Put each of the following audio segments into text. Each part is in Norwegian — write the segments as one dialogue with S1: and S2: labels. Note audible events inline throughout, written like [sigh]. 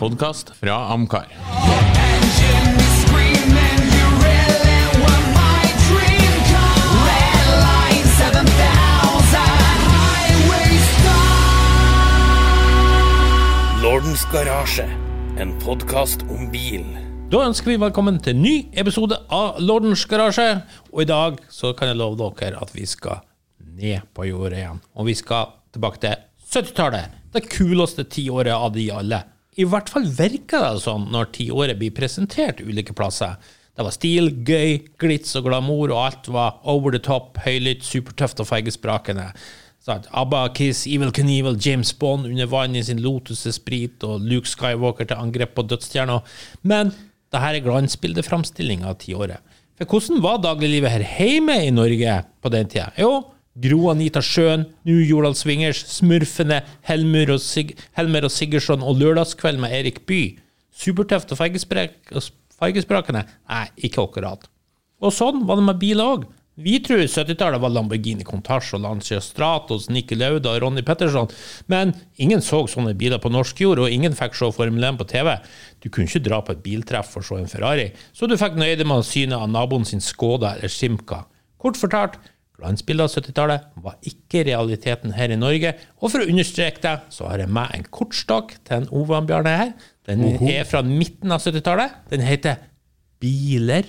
S1: Podkast fra Amcar.
S2: Lordens Garasje, en podkast om bil.
S1: Da ønsker vi velkommen til en ny episode av Lordens garasje. Og i dag så kan jeg love dere at vi skal ned på jordet igjen. Og vi skal tilbake til 70-tallet. Det kuleste tiåret av de alle. I hvert fall virker det sånn når tiåret blir presentert ulike plasser. Det var stil, gøy, glits og glamour, og alt var over the top, høylytt, supertøft og feigesprakende. Sant? ABBA, Kiss, Evil Knievel, James Bond under vann i sin Lotus Esprit og Luke Skywalker til angrep på dødsstjerna. Men dette er glansbildeframstillinga av tiåret. For hvordan var dagliglivet her hjemme i Norge på den tida? Jo, Gro Anita Sjøen, New Jordal Swingers, Smurfene, Helmer og, Sig Helmer og Sigurdsson og Lørdagskveld med Erik Bye. Supertøft og feigesprak- og feigesprakende? Nei, ikke akkurat. Og sånn var det med biler òg. Vi tror 70-tallet var Lamborghini Contage og Lancia Stratos, Nicky Lauda og Ronny Petterson, men ingen så sånne biler på norsk jord, og ingen fikk se Formel 1 på TV. Du kunne ikke dra på et biltreff for å se en Ferrari, så du fikk nøye deg med å syne av naboen sin Skoda eller Simca. Kort fortalt, glansbildet av 70-tallet var ikke realiteten her i Norge, og for å understreke det, så har jeg med en kortstokk til en Ovan Bjarne her. Den er fra midten av 70-tallet. Den heter Biler.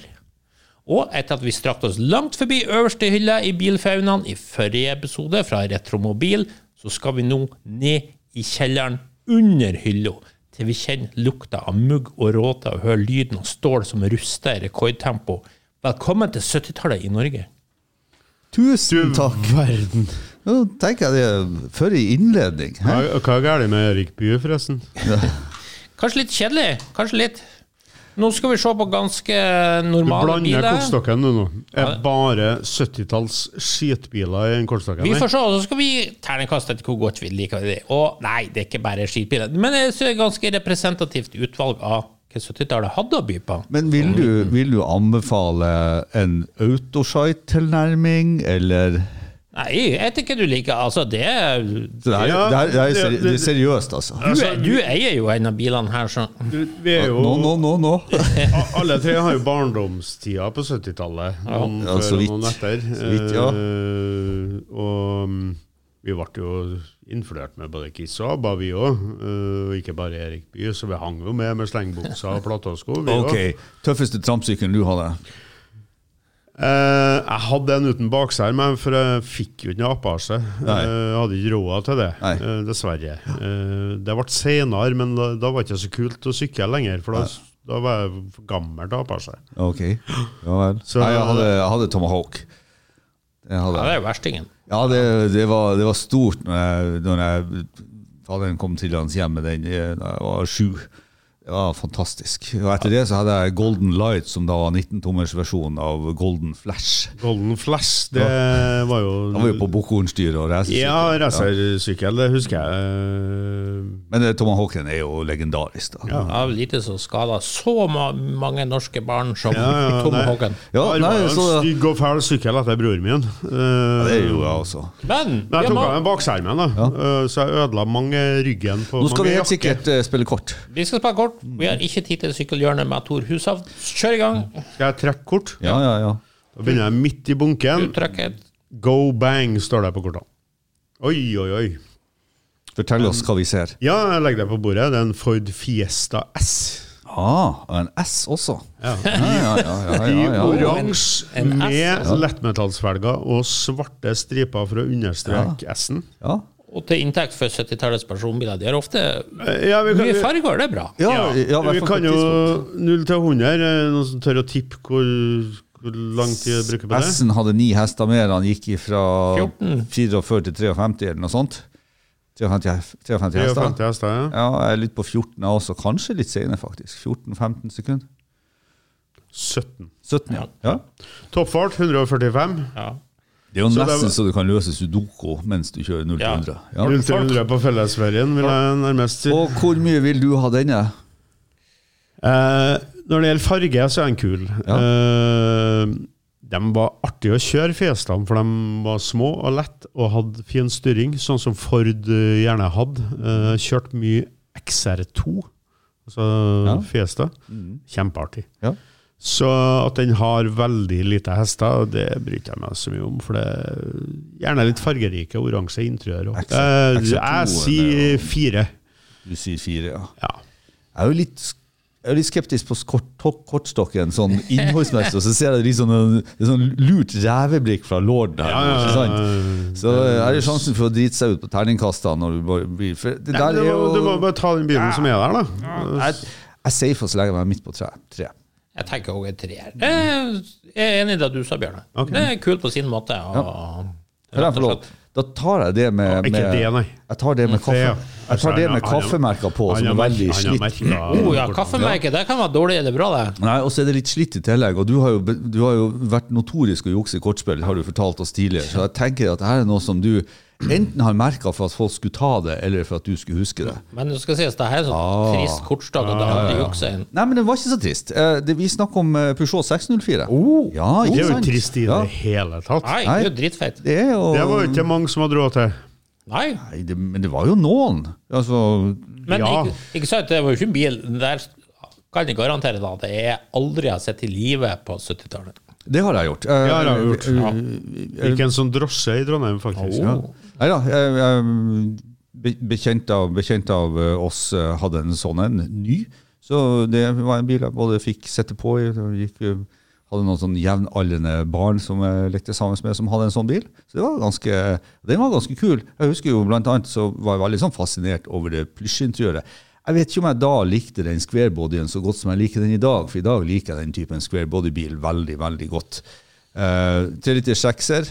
S1: Og etter at vi strakte oss langt forbi øverste hylle i bilfaunaen i forrige episode fra Retromobil, så skal vi nå ned i kjelleren under hylla, til vi kjenner lukta av mugg og råte og hører lyden av stål som ruster i rekordtempo. Velkommen til 70-tallet i Norge.
S3: Tusen takk. Verden. Nå tenker jeg det før i innledning.
S4: Hva,
S3: Hæ?
S4: hva er galt med Erik Bye, forresten?
S1: Kanskje litt kjedelig, kanskje litt. Nå skal vi se på ganske
S4: Du
S1: normale
S4: blander
S1: biler.
S4: kortstokken du nå. Er bare 70-talls skitbiler i den kortstokken?
S1: Vi
S4: nei?
S1: får se, og så skal vi terningkaste etter hvor godt vi liker det. Og nei, det er ikke bare skitbiler. Men jeg ser et ganske representativt utvalg av hva 70-tallet hadde å by på.
S3: Men vil du, vil du anbefale en autosite-tilnærming, eller
S1: Nei, jeg vet ikke du liker. Altså, det er-
S3: Så det, her,
S4: Ja,
S3: det, her, det, her, er
S4: det-
S3: seri-
S4: det-
S3: det er seriøst, altså.
S1: du, er- du eier jo en av bilene her, så
S4: Du, Vi er jo,
S3: Nå, nå, nå, nå.
S4: [laughs] a- Alle tre har jo barndomstida på 70-tallet. Noen
S3: Ja, så
S4: før og
S3: vidt.
S4: noen etter.
S3: Så vidt, ja.
S4: Eh, og mm, vi ble jo influert med både Kiss og ABBA, vi òg. Og ikke bare Erik Bye, så vi hang jo med med slengbukser og platåsko. vi
S3: Ok,
S4: også.
S3: Tøffeste trampsykkelen du hadde?
S4: Eh, jeg hadde en uten bakskjerm, jeg, for jeg fikk jo ikke noe apanse.
S3: Nei.
S4: Eh, Jeg hadde ikke råd til det,
S3: Nei.
S4: eh, dessverre. Eh, det ble senere, men da, da var det ikke så kult å sykle lenger, for da, da var jeg for gammel til å ha apanse.
S3: Ok. Ja vel.
S4: Så-
S3: Nei, jeg hadde, jeg hadde Tomahawk. Jeg
S1: ja,
S3: hadde.
S1: det er jo verstingen.
S3: Ja, det, det, var, det var stort når jeg, når jeg faderen kom til hans hjem med den eh, da jeg var sju. Det var fantastisk. Og etter det så hadde jeg Golden Light, som da var 19-tommers versjon av Golden Flash.
S4: Golden Flash, det var jo
S3: Da var vi på Bokhornstyret og reiste.
S4: Ja, racersykkel, det husker jeg.
S3: Men eh, Tomahawken er jo legendarisk, da.
S1: Ja, lite som skada så ma mange norske barn som
S4: Ja, ja,
S1: Tom
S4: nei.
S1: Håken.
S3: Ja,
S4: jeg
S3: nei,
S4: arva Eh, en
S3: så-
S4: stygg og fæl sykkel etter broren min. Eh,
S3: Det gjorde jeg også.
S1: Men
S4: Men
S1: vi
S4: jeg tok av
S1: må-
S4: meg bakskjermen, da, eh, så jeg ødela mange ryggen på
S3: Nå skal
S4: mange
S3: vi helt
S4: jakker.
S3: sikkert eh, spille kort.
S1: vi skal spille kort. Vi har ikke tid til sykkelhjørnet med Tor Hushovd. Kjør i gang.
S4: Skal jeg trekke kort?
S3: Ja, ja, ja.
S4: Da begynner jeg midt i bunken.
S1: Du trekker et
S4: Go bang, står det på kortene. Oi, oi, oi.
S3: Fortell oss hva vi ser.
S4: Ja, jeg legger det på bordet. Det er en Ford Fiesta S.
S3: Ah, og en S også.
S4: Ja.
S3: Ja, ja, ja. ja,
S4: I
S3: ja,
S4: [laughs]
S3: ja.
S4: oransje
S1: En- en S,
S4: med
S1: altså.
S4: lettmetallsfelger og svarte striper for å understreke S-en.
S3: ja.
S1: Og til inntekt for 70-tallets personbiler. De har ofte
S4: Eh, Ja, vi kan,
S1: mye farger, det er bra.
S3: Ja,
S4: ja,
S3: ja, i hvert
S4: vi
S3: fall på
S4: kan
S3: et
S4: jo
S3: tidspunkt.
S4: 0 til 100. eh, Noen som tør å tippe hvor, hvor lang tid jeg bruker på det?
S3: S-en hadde ni hester mer. Han gikk fra
S1: 14.
S3: 44 til 53 eller noe sånt. 53, 53
S4: 53
S3: hester.
S4: hester, ja.
S3: Ja, jeg er litt på 14 jeg også. Kanskje litt senere, faktisk. 14-15 sekunder.
S4: 17.
S3: 17, ja. ja.
S4: Toppfart 145.
S1: Ja.
S3: Det er jo
S4: Så det
S3: nesten
S4: var-
S3: så du kan løse sudoku mens du kjører 0
S1: Ja.
S3: 100. Ja.
S4: 0 til 100 på fellesferien, vil jeg nærmest si.
S3: Og hvor mye vil du ha denne?
S4: Eh, når det gjelder farge, så er den kul.
S3: Ja.
S4: Eh, de var artige å kjøre Fiestaen, for de var små og lett og hadde fin styring, sånn som Ford eh, gjerne hadde. Eh, kjørt mye XR2 altså fjes, da.
S3: Mm.
S4: Kjempeartig.
S3: Ja.
S4: Så at den har veldig lite hester, det bryr jeg meg så mye om. For det er gjerne litt fargerike oransje interiør òg.
S3: Aksept-
S4: Jeg
S3: akseptoren er
S4: sier fire.
S3: Du sier fire, ja.
S4: Ja.
S3: Jeg er jo litt, jeg er jo litt skeptisk på kort, tok- kortstokken, sånn innholdsmessig. Og så ser jeg litt sånn, det er sånn lurt reveblikk fra lorden her. ikke sant? Så er det sjansen for å drite seg ut på terningkastene når du bare blir for Det
S4: Nei, men
S3: der
S4: Du
S3: er
S4: må, du må
S3: jo
S4: bare ta den bilen som er der, da.
S3: Jeg, jeg safer så lenge jeg er midt på tre. tre.
S1: Jeg tenker også en treer. Jeg er enig i det du sa, Bjørne. Det er kult på sin måte. Og,
S3: Kan jeg få lov? Da tar jeg det med,
S4: Ja, ikke
S3: med
S4: det, nei.
S3: Jeg tar det med
S4: Det, ja.
S3: kaffe. Jeg tar det med
S4: Han har-
S3: kaffemerker på,
S4: han
S3: som
S4: har
S3: er veldig
S4: merket- han
S3: slitt.
S4: har merket-
S1: oh, ja, kaffemerket, det kan være dårlig eller bra, det.
S3: Nei, og så er det litt slitt i tillegg. Og du har jo, be- du har jo vært notorisk å jukse i kortspill, har du fortalt oss tidligere. Så jeg tenker at dette er noe som du enten har merka for at folk skulle ta det, eller for at du skulle huske det.
S1: Men det skal sies, det her er sånn trist kortstokk, og det er alltid juksa inn.
S3: Nei, men det var ikke så trist. Eh, det, vi snakker om eh, Peugeot 604. ja,
S4: Oh, Det
S3: ikke
S4: er jo
S3: sant?
S4: ikke trist i
S3: Ja,
S4: det hele tatt.
S1: Nei, det er jo dritfeit.
S3: det er jo
S4: Det var jo ikke mange som hadde råd til.
S1: Nei,
S3: Nei, det, Men det var jo noen. Altså
S1: men
S4: Ja.
S1: ikke, ikke sant, det var jo ikke en bil. Der kan jeg garantere da, at jeg aldri har sett i live på 70-tallet.
S3: Det har jeg gjort. Eh,
S4: Det har jeg gjort.
S3: eh,
S4: Ikke en sånn drosje i Trondheim, faktisk.
S1: Oh.
S4: Ja.
S3: Nei da. jeg- jeg- be- Bekjent av, bekjent av eh, oss eh, hadde en sånn en ny. Så det var en bil jeg både fikk sette på i. og Gikk, eh, hadde noen sånn jevnaldrende barn som jeg lekte sammen med, som hadde en sånn bil. Så det var ganske, den var ganske kul. Jeg husker jo blant annet så var jeg veldig sånn fascinert over det plysjinteriøret. Jeg vet ikke om jeg da likte den squarebodyen så godt som jeg liker den i dag, for i dag liker jeg den typen squarebody-bil veldig, veldig godt. Eh, Tre liter sekser,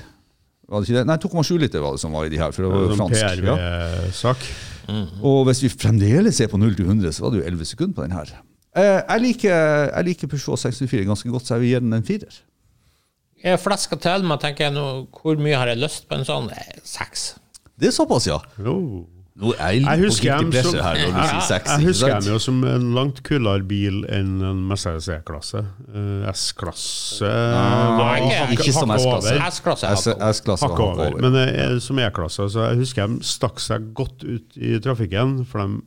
S3: var det ikke det? Nei, 2,7 liter var det som var i de her, for det var jo
S4: Sånn
S3: fransk. Ja.
S4: PRV-sak.
S3: Og hvis vi fremdeles er på 0 til 100, så var det jo 11 sekunder på den her. Eh, Jeg liker, jeg liker Peugeot 604 ganske godt, så jeg vil gi den en firer.
S1: Jeg flesker til, men tenker jeg nå, hvor mye har jeg lyst på en sånn? Nei, Seks.
S3: Det er såpass, ja.
S4: Jo.
S3: Nå er jeg
S4: Jeg
S3: litt
S4: husker
S3: på
S4: dem
S3: riktig
S4: som,
S3: presse her når du
S4: jeg,
S3: sier
S4: jeg,
S3: 6.
S4: jeg
S3: ikke
S4: husker
S3: sant?
S4: dem jo som en langt kulere bil enn en Mercedes E-klasse. Eh, S-klasse var
S1: ikke-
S4: hakket-
S3: Ikke som
S4: hakket
S3: S-klasse.
S4: over.
S1: S-klasse.
S3: S- S-klasse
S4: Hakket
S3: hakket over.
S4: over. Men eh, som E-klasse, så jeg husker de stakk seg godt ut i trafikken. For de,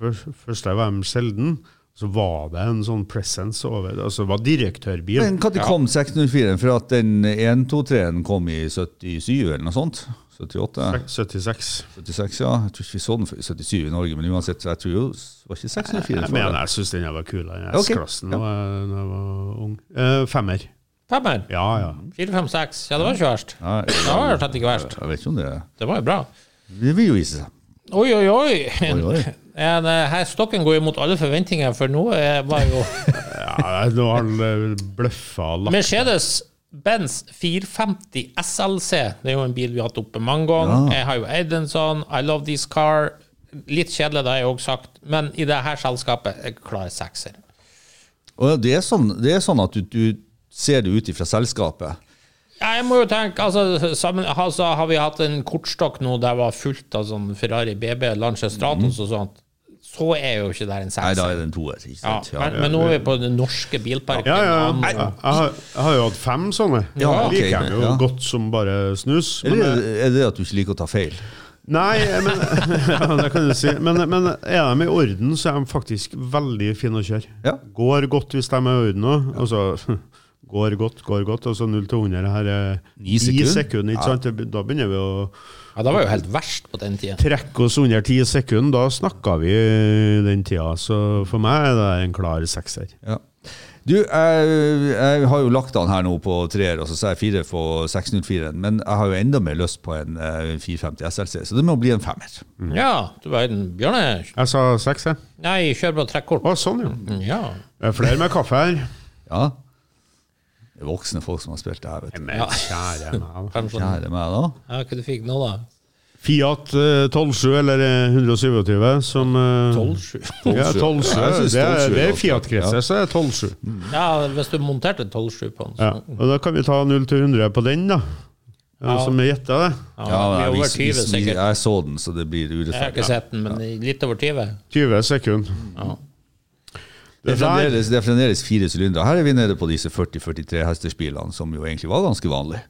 S4: først, først var de sjelden, så var det en sånn presence over det. Altså, det var direktørbil.
S3: Men når kom 604-en? For at den 123-en kom i 77 eller noe sånt? 78?
S4: 76.
S3: 76, ja. Jeg tror ikke vi så den før i 77 i Norge, men uansett, så jeg tror jo det var ikke 604
S4: Jeg
S3: før.
S4: mener, jeg syns den var kulere enn
S3: Ok.
S4: S-klassen da jeg da jeg var ung. Eh, femmer.
S1: Femmer.
S4: Ja, ja.
S1: Fire, fem, seks. Ja, det var ikke verst.
S3: Nei,
S1: Det var jo slett ikke verst.
S3: jeg vet ikke om det
S1: Det var jo bra.
S3: Det vil jo vise seg.
S1: Oi, oi, oi.
S3: Oi, oi.
S1: Ja, det her stokken går jo mot alle forventninger, for nå er- var jo
S4: Ja, nå har han bløffa og lagt
S1: Mercedes Benz 450 SLC. Det er jo en bil vi har hatt oppe mange ganger. Jeg har jo eid en sånn. I love this car. Litt kjedelig, det har jeg òg sagt, men i det her selskapet jeg klarer sekser.
S3: Og det er sånn, det er sånn at du, du ser det ut ifra selskapet.
S1: Ja, Jeg må jo tenke, altså, sammen, altså har vi hatt en kortstokk nå der var fullt av sånn Ferrari BB, Lancia Stratos og sånt. Så er jo ikke det en
S3: Nei, da
S1: sekser.
S3: er det en toer. ikke
S1: Ja,
S3: sant?
S1: men, men nå er vi på den norske bilparken.
S4: Ja, ja.
S1: og-
S4: Jeg, jeg, har, jeg har jo hatt fem sånne.
S3: Ja, ok,
S4: Liker jeg jo
S3: ja.
S4: godt som bare snus. Men,
S3: Eller er det- er det at du ikke liker å ta feil?
S4: nei, eh, men, [laughs] ja, det kan du si. Men, eh, men er de i orden, så er de faktisk veldig fine å kjøre.
S3: Ja.
S4: Går godt hvis de er i orden òg. Altså, [laughs] går godt, går godt. Altså 0 til 100 her er
S3: Ni
S4: ni
S3: sekunder.
S4: sekunder. ikke sant? Det- Da begynner vi å
S1: Ja, det var jo helt verst på den tida.
S4: trekke oss under ti sekunder. Da snakka vi eh, den tida. Så for meg er det en klar sekser.
S3: Ja. Du, jeg, jeg har jo lagt an her nå på treer, og så sier jeg fire for 604-en. Men jeg har jo enda mer lyst på en eh, 450 SLC, så det må bli en femmer.
S1: Ja, du verden. Bjørne,
S4: Jeg sa seks, jeg.
S1: nei, kjør på trekkort.
S4: Å, sånn, jo.
S1: Ja.
S4: Det er flere med kaffe her.
S3: Ja. Det er voksne folk som har spilt det her, vet du.
S4: Men kjære meg. da.
S1: Kanskje
S3: Kjære meg, da.
S1: ja, hva du fikk nå, da?
S4: Fiat eh, 127 eller eh, 127 som eh,
S1: 12-7.
S4: Ja,
S3: 12-7.
S4: 12-7.
S3: Ja, jeg synes
S4: Det er,
S3: 12-7
S4: det
S3: er
S4: er Fiat-kretser,
S3: godt.
S4: så er det 12-7.
S1: Ja, hvis du monterte 12-7 på den.
S4: Ja.
S1: Så.
S4: Og da kan vi ta 0 til 100 på den, da. Eh, Som vi gjetta det.
S1: Ja,
S3: nei,
S1: vi er over
S3: vi- vi-
S1: 20, sikkert.
S3: Jeg så den, så det blir
S1: Jeg har
S3: urettferdig.
S1: ikke sett den, men litt over 20.
S4: 20 sekunder.
S3: Det er
S4: Det der-
S3: fremdeles, det er fremdeles fire sylindere. Her er vi nede på disse 40-43 hestersbilene, som jo egentlig var ganske vanlig.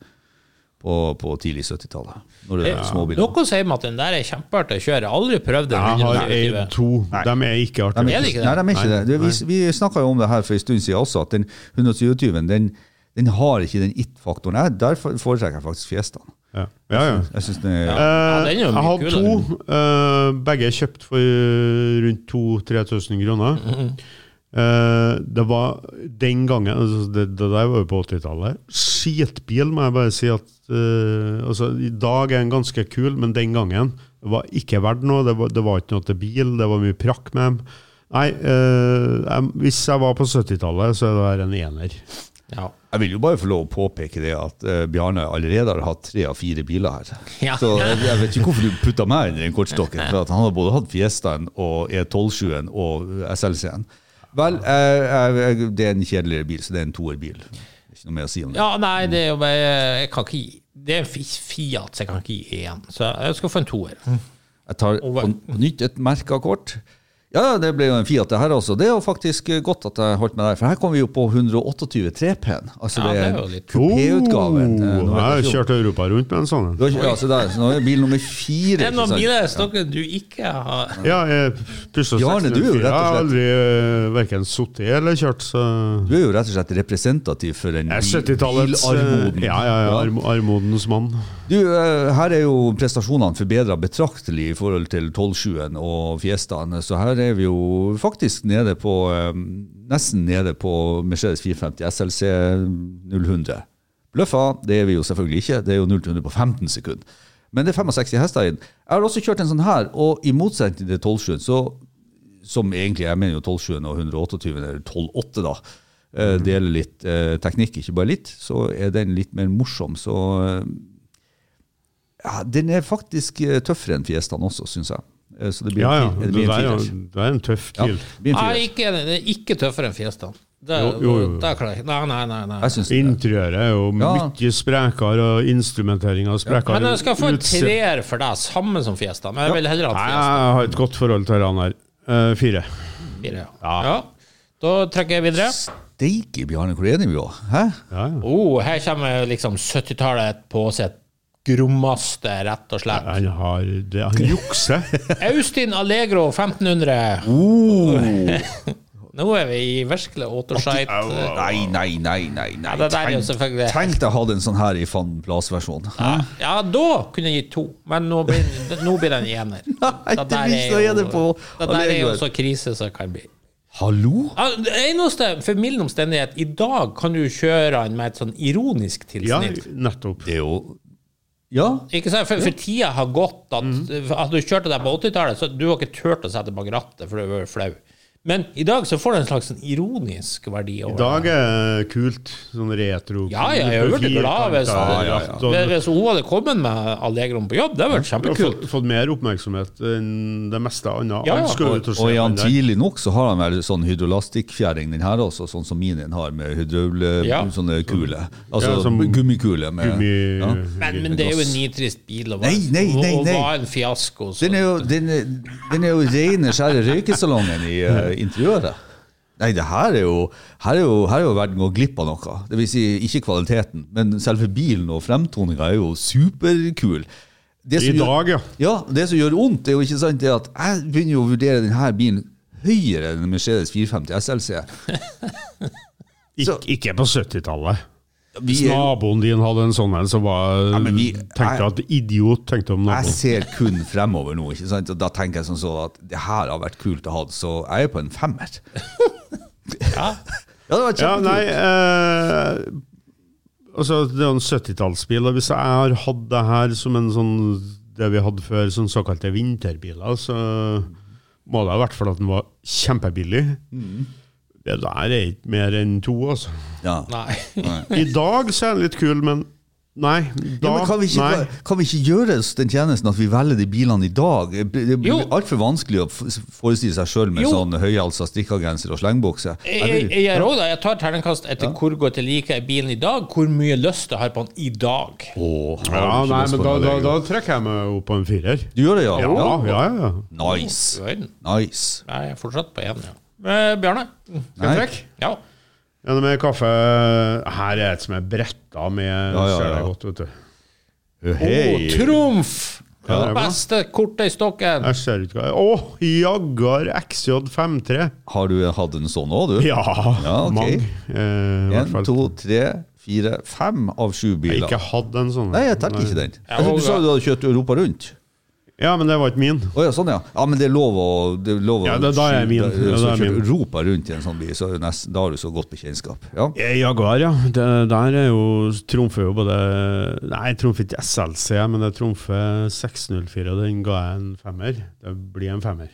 S3: på, på tidlig 70-tallet. Når det er småbiler.
S1: Noen sier meg at den der er kjempeartig å kjøre. Jeg har aldri prøvd den.
S4: Jeg har eid
S1: 120.
S4: to. De er ikke
S1: De
S4: artige.
S1: er det ikke det?
S3: Nei, de er ikke det. Du, vi vi snakka jo om det her for en stund siden også, at den 127-en den, den har ikke den it-faktoren. Jeg- Der foretrekker jeg faktisk Fiestaen.
S4: Ja, ja. ja.
S3: Jeg synes den er,
S1: Ja, den er jo
S4: Eh, jeg
S1: mye
S4: hadde
S1: kulere.
S4: to. eh, begge er kjøpt for eh, rundt 2000-3000 kroner.
S1: Mhm.
S4: Eh, det var den gangen altså det, det der var jo på 80-tallet. Skitbil, må jeg bare si. at eh, altså, I dag er den ganske kul, men den gangen det var ikke verdt noe. Det var, det var ikke noe til bil, det var mye prakk med dem. Nei, eh, jeg, hvis jeg var på 70-tallet, så er det her en ener.
S1: Ja.
S3: Jeg vil jo bare få lov å påpeke det at eh, Bjarne allerede har hatt tre av fire biler her.
S1: Ja.
S3: Så eh, jeg, jeg vet ikke hvorfor du putta meg under den kortstokken. For at han har både hatt Fiestaen og E127-en og SLC-en. Vel, jeg, jeg, jeg, det er en kjedeligere bil, så det er en toerbil. Ikke noe mer å si om det.
S1: ja, nei, det er jo bare Jeg kan ikke gi Det er en fi- Fiat, så jeg kan ikke gi én. Så jeg skal få en toer.
S3: Jeg tar
S1: Og hva-
S3: på på nytt et merka kort. Ja, ja, det ble jo en Fiat, det her også. Det er jo faktisk eh, godt at jeg holdt meg der, for her kom vi jo på 128 3P-en. Altså,
S1: Ja,
S3: det
S1: det er jo
S3: er
S1: litt-
S3: kupéutgaven. eh, nå
S4: Oh,
S3: vet
S4: jeg
S3: ikke
S4: har
S3: om-
S4: kjørt Europa rundt med en sånn.
S3: Du har ikke- altså, der, så nå er det bil nummer fire.
S1: Det er
S3: ikke
S1: noen
S3: sant?
S1: biler snakker du ikke har
S4: Ja, jeg pussa
S3: Bjarne, du er jo rett og slett-
S4: Jeg har aldri uh, verken sittet eller kjørt, så
S3: Du er jo rett og slett representativ for en
S4: Jeg er
S3: bil-
S4: 70-tallets eh,
S3: bilarmoden.
S4: Ja, ja, ja, arm, armodens mann.
S3: Du, eh, her er jo prestasjonene forbedra betraktelig i forhold til 12-7-en og Fiestaen, så her er vi jo faktisk nede på eh, Nesten nede på Mercedes 450 SLC 0100. Bløffa, det er vi jo selvfølgelig ikke. Det er jo 0-100 på 15 sekunder. Men det er 65 hester i den. Jeg har også kjørt en sånn her, og i motsetning til 12-7-en, så som egentlig, jeg mener jo 12-7 og 128, eller 12-8 da, eh,
S4: Mhm.
S3: deler litt eh, teknikk, ikke bare litt, så er den litt mer morsom. Så eh, ja, den er faktisk eh, tøffere enn Fiestaen også, syns jeg. Eh, Så det blir
S4: Ja, ja.
S3: en fi-
S4: Det
S3: det blir en
S4: er jo
S3: firer.
S4: det er en tøff
S3: Ja,
S4: bil.
S3: det blir en
S1: Nei,
S3: firer.
S1: ikke, det er ikke tøffere enn Fiestaen. Det,
S4: Jo, jo, jo.
S1: det klarer jeg ikke. Nei, nei, nei. nei.
S3: Jeg syns det.
S4: Interiøret er jo
S3: Ja.
S4: mye sprekere, og instrumenteringa sprekere.
S1: Men jeg skal få en
S4: Utse-
S1: treer for deg, samme som Fiesta. Men jeg vil heller ha
S4: Nei,
S1: en
S4: jeg har et godt forhold til han her. Eh, fire.
S1: Fiesta. Ja.
S4: Ja.
S1: Ja. Da trekker jeg videre.
S3: Steike, Bjarne, hvor er vi òg? Hæ?
S4: Ja, ja.
S1: Oh, her kommer liksom 70-tallet på sitt grommeste, rett og slett.
S4: Han har det, Han
S3: [laughs]
S4: jukser.
S1: Austin Allegro 1500.
S3: Oh.
S1: [laughs] Nå er vi i virkelig återskjeit.
S3: Nei, nei, nei, nei. nei.
S1: det der er jo
S3: Tenk-
S1: selvfølgelig-
S3: Tenk deg å ha en sånn her i Van Blas-versjon.
S1: Ja, da kunne jeg gitt to, men nå blir, nå blir den ener.
S3: [laughs] Nei, det
S1: der
S3: blir ikke ener på
S1: det der er jo
S3: Allegro.
S1: så krise som kan bli.
S3: Hallo?
S1: Ja, det eneste formildende omstendighet i dag kan du kjøre den med et sånn ironisk
S4: Ja,
S1: tilsnitt.
S4: nettopp.
S3: Det er jo Ja.
S1: Ikke sant? For, for tida har gått. At,
S3: Mm.
S1: at du kjørte deg på 80-tallet, så du har ikke turt å sette deg bak rattet, for du var flau. Men i dag så får du en slags sånn ironisk verdi.
S4: I
S1: over
S4: dag
S1: det.
S4: er det kult. Sånn retro.
S1: Ja, ja, jeg hadde blitt glad hvis,
S4: Firkanter,
S3: Ja, ja,
S4: sånn-
S1: hvis hun hadde kommet med Allegro på jobb. Det hadde vært
S4: Du har
S1: kjempekult.
S4: fått, fått mer oppmerksomhet enn det meste annet.
S1: Ja, ja.
S4: Alle skulle ut og se
S3: Og er han
S4: den der.
S3: tidlig nok, så har han vel sånn hydrolastikkfjæring, den her også, sånn som min har med hydraul...
S1: Ja.
S3: Sånne kule. Altså
S4: Sånn- Ja, som-
S3: gummikule med
S4: Gummi-
S3: Ja.
S1: Men, men det er jo en nitrist bil, og var,
S3: Nei, nei, nei,
S1: og
S3: nei.
S1: var en fiasko. Så.
S3: Den er jo, den er, den er jo rene, skjære røykesalongen i
S4: [laughs]
S3: eh, interiøret. Nei, det her er jo Her er jo, her er jo verden gått glipp av noe. Det vil si, ikke kvaliteten, men selve bilen og fremtoninga er jo superkul. Det som
S4: I dag, ja.
S3: Gjør, ja. Det som gjør vondt, det er jo ikke sant det at jeg begynner jo å vurdere denne bilen høyere enn Mercedes 450 SLC.
S4: Ikk, ikke på 70-tallet.
S3: Vi
S4: Hvis
S3: er,
S4: naboen din hadde en sånn en, så var,
S3: Ja, men vi-
S4: tenkte jeg at idiot tenkte om
S3: jeg
S4: naboen.
S3: ser kun fremover nå, ikke sant? og da tenker jeg som så at det her har vært kult å ha, så jeg er på en femmer. ja, det var
S4: Ja,
S3: kjempekult.
S4: nei eh, Altså, det er jo en 70-tallsbil, og hvis jeg har hatt det her som en sånn Det vi hadde før, sånn såkalte vinterbiler, så må det ha vært fordi at den var kjempebillig.
S3: Mm.
S4: Det der er ikke mer enn to, altså.
S3: Ja.
S1: Nei.
S4: I dag så er den litt kul, men nei. Da,
S3: Ja, men kan, vi ikke,
S4: nei.
S3: kan vi ikke gjøre oss den tjenesten at vi velger de bilene i dag? Det
S1: Jo.
S3: blir altfor vanskelig å f- forestille seg sjøl med
S1: Jo.
S3: sånn høyhalsa strikkegenser og slengbukse. Jeg
S1: Jeg,
S3: vil-
S1: jeg gjør også det. Jeg tar terningkast etter hvor godt jeg liker bilen i dag, hvor mye lyst jeg har på den i dag.
S3: Åh, har
S4: Ja,
S3: du ikke
S4: nei,
S3: lyst
S4: men
S3: på
S4: da,
S3: den
S4: da,
S3: allerede?
S4: da trekker jeg meg opp på en firer.
S3: Du gjør det, ja?
S4: Ja, ja, ja.
S1: Du
S3: Nice.
S1: verden.
S3: Nice.
S1: Nei, Jeg er fortsatt på én, ja. Eh, Bjarne?
S4: Skal jeg trekke?
S1: Ja.
S4: Ja, det med kaffe Her er et som er bretta med
S3: ja, ja.
S4: ser jeg godt, vet du.
S3: Hei.
S1: Å, trumf!
S4: Ja, det er bra.
S1: Beste kortet i stokken.
S4: Jeg ser ikke hva Å, Jaggar XJ53.
S3: Har du hatt en sånn òg, du?
S4: Ja,
S3: Ja, ok.
S4: mange. Eh, i hvert
S3: En,
S4: fall.
S3: to, tre, fire, fem av sju
S4: Jeg har
S3: biler.
S4: ikke hatt en sånn.
S3: Nei, jeg tar ikke den.
S1: Ja,
S3: Jeg trodde
S1: og-
S3: du sa du hadde kjørt Europa rundt.
S4: Ja, men det var ikke min.
S3: Å ja, sånn, ja. Ja, Men det er lov å, det er lov å
S4: Ja, det- da er jeg min.
S3: Da-
S4: Ja,
S3: så
S4: da er jeg
S3: kjører du
S4: min.
S3: Europa rundt i en sånn bil, så er du nesten, da har du så godt bekjentskap. Ja.
S4: Eh, Jaguar, ja. Det der er jo trumfer jo både Nei, jeg trumfer ikke SLC, men jeg trumfer 604, og den ga jeg en femmer. Det blir en femmer.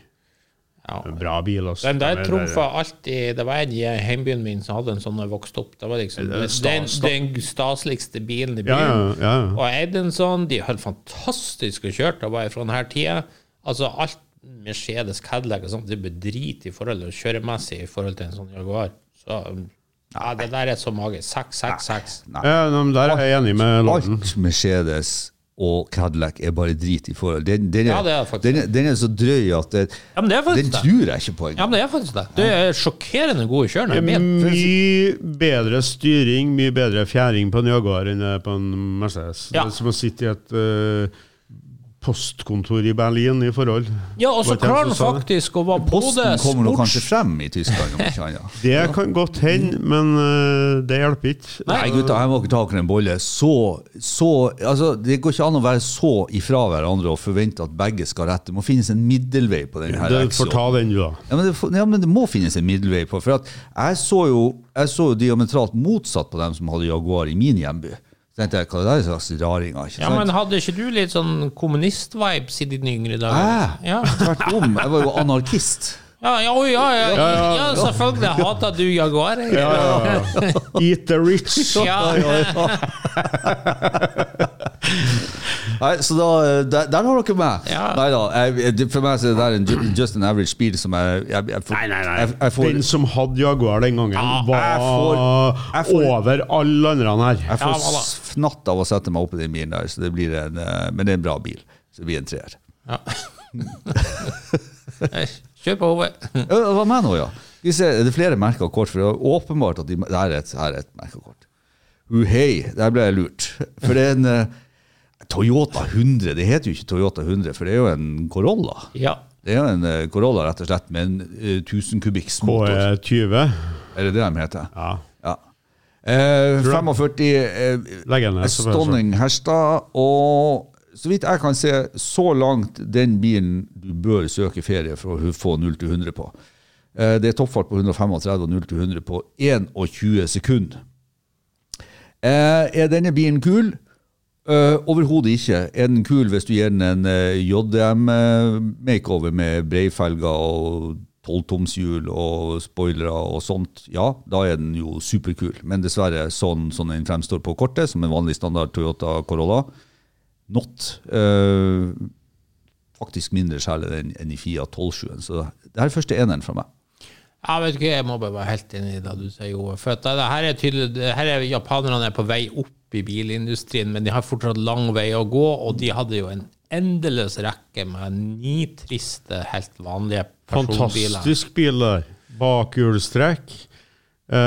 S1: Ja.
S4: En bra bil, altså.
S1: Den der
S4: Femmer,
S1: trumfa alltid Det var en i heimbyen min som hadde en sånn da jeg vokste opp. Det var liksom
S4: Det er stas-
S1: den, den staseligste bilen i byen.
S4: Ja, ja, ja, ja.
S1: Og jeg eide en sånn. De hadde fantastisk å kjøre. Det var jeg fra denne tida. Altså alt Mercedes, Cadillac og sånt, det blir drit i forhold til kjøremessig i forhold til en sånn Jaguar. Så um, ja, det der er så magisk. Seks, seks, seks.
S4: Ja, nei, men der er jeg enig med Lorden.
S3: Alt Mercedes og Cadillac er bare drit i forhold. Den, den, er,
S1: Ja, det er faktisk
S3: den, er, den er så drøy at det,
S1: Ja, men det er faktisk
S3: Den
S1: det.
S3: tror jeg ikke på engang.
S1: Ja, men det er faktisk det. Du er sjokkerende god i kjøring. Jeg vet.
S4: Mye bedre styring, mye bedre fjæring på en Jaguar enn det er på en Mercedes.
S1: Ja.
S4: Det er som å sitte i et eh, postkontor i Berlin i forhold.
S1: Ja, og så
S4: Var det hvem
S1: klarer han
S4: som sa det?
S1: faktisk å være både
S3: Posten kommer nå kanskje
S1: sports...
S3: frem i Tyskland, om ikke annet.
S4: Det kan godt hende, men eh, det hjelper ikke.
S3: Nei, gutta, her må dere ta dere en bolle. Så, så, altså, det går ikke an å være så ifra hverandre og forvente at begge skal rette. Det må finnes en middelvei på denne
S4: Du får ta
S3: aksjonen.
S4: den, du, da.
S3: Ja men, det, ja, men det må finnes en middelvei på. For at jeg, så jo, jeg så jo diametralt motsatt på dem som hadde Jaguar i min hjemby. Så tenkte jeg, hva er det der slags raringer? Ikke
S1: Ja,
S3: sant?
S1: men hadde ikke du litt sånn kommunist-vibes i dine yngre dager?
S3: Hæ?
S1: Ja.
S3: Tvert om. Jeg var jo anarkist.
S1: Ja, ja, ja, ja, ja, ja, selvfølgelig hater du Jaguar. jeg.
S4: [laughs] Eat
S3: [laughs]
S4: the rich.
S1: Ja. [laughs]
S3: Nei, så da, eh, der, der har dere meg.
S1: Ja.
S3: Nei da. Jeg, det- for meg så er det der en ju- just an average bil som jeg, jeg, jeg får,
S4: Nei, nei, nei.
S3: Jeg, jeg får,
S4: den som hadde Jaguar den gangen, var
S3: jeg får- jeg får-
S4: over alle andre her.
S3: Jeg får
S1: Ja, hva da?
S3: fnatt av å sette meg opp i den bilen der, så det blir en, eh, men det er en bra bil. Så det blir en treer.
S1: Ja. Kjør på hodet.
S3: Ja, Det var meg nå, ja. Vi ser, er det flere merka kort? For det er åpenbart at de, det er et, her er et merka kort. Uhei, der ble jeg lurt. For det er en eh, Toyota 100. Det heter jo ikke Toyota 100, for det er jo en Corolla.
S1: Ja.
S3: Det er jo en eh, Corolla, rett og slett, med en eh, 1000 kubikks motor.
S4: eh, KE20.
S3: Er det det de heter?
S4: E Ja.
S3: Ja. Eh, 45 eh,
S4: Legg den ned, så får jeg se.
S3: Stonning Herstad. Og så vidt jeg kan se, så langt den bilen du bør søke ferie for å få 0 til 100 på. Eh, det er toppfart på 135 og 0 til 100 på 21 sekunder. Eh, er denne bilen kul? Eh, Overhodet ikke. Er den kul hvis du gir den en eh, JDM eh, makeover med breifelger og 12-tomshjul og spoilere og sånt? Ja, da er den jo superkul. Men dessverre, sånn som den fremstår på kortet, som en vanlig standard Toyota Corolla, not. Eh, faktisk mindre skjell enn enn i Fiat 12-7. Så det her er første eneren fra meg.
S1: Jeg vet ikke, jeg må bare være helt enig i det du sier, Ove. For at det, det her er tydelig, det her er japanerne er på vei opp i bilindustrien, men de har fortsatt lang vei å gå, og de hadde jo en endeløs rekke med ni triste, helt vanlige personbiler.
S4: Fantastisk bil der. Bakhjulstrekk. Eh,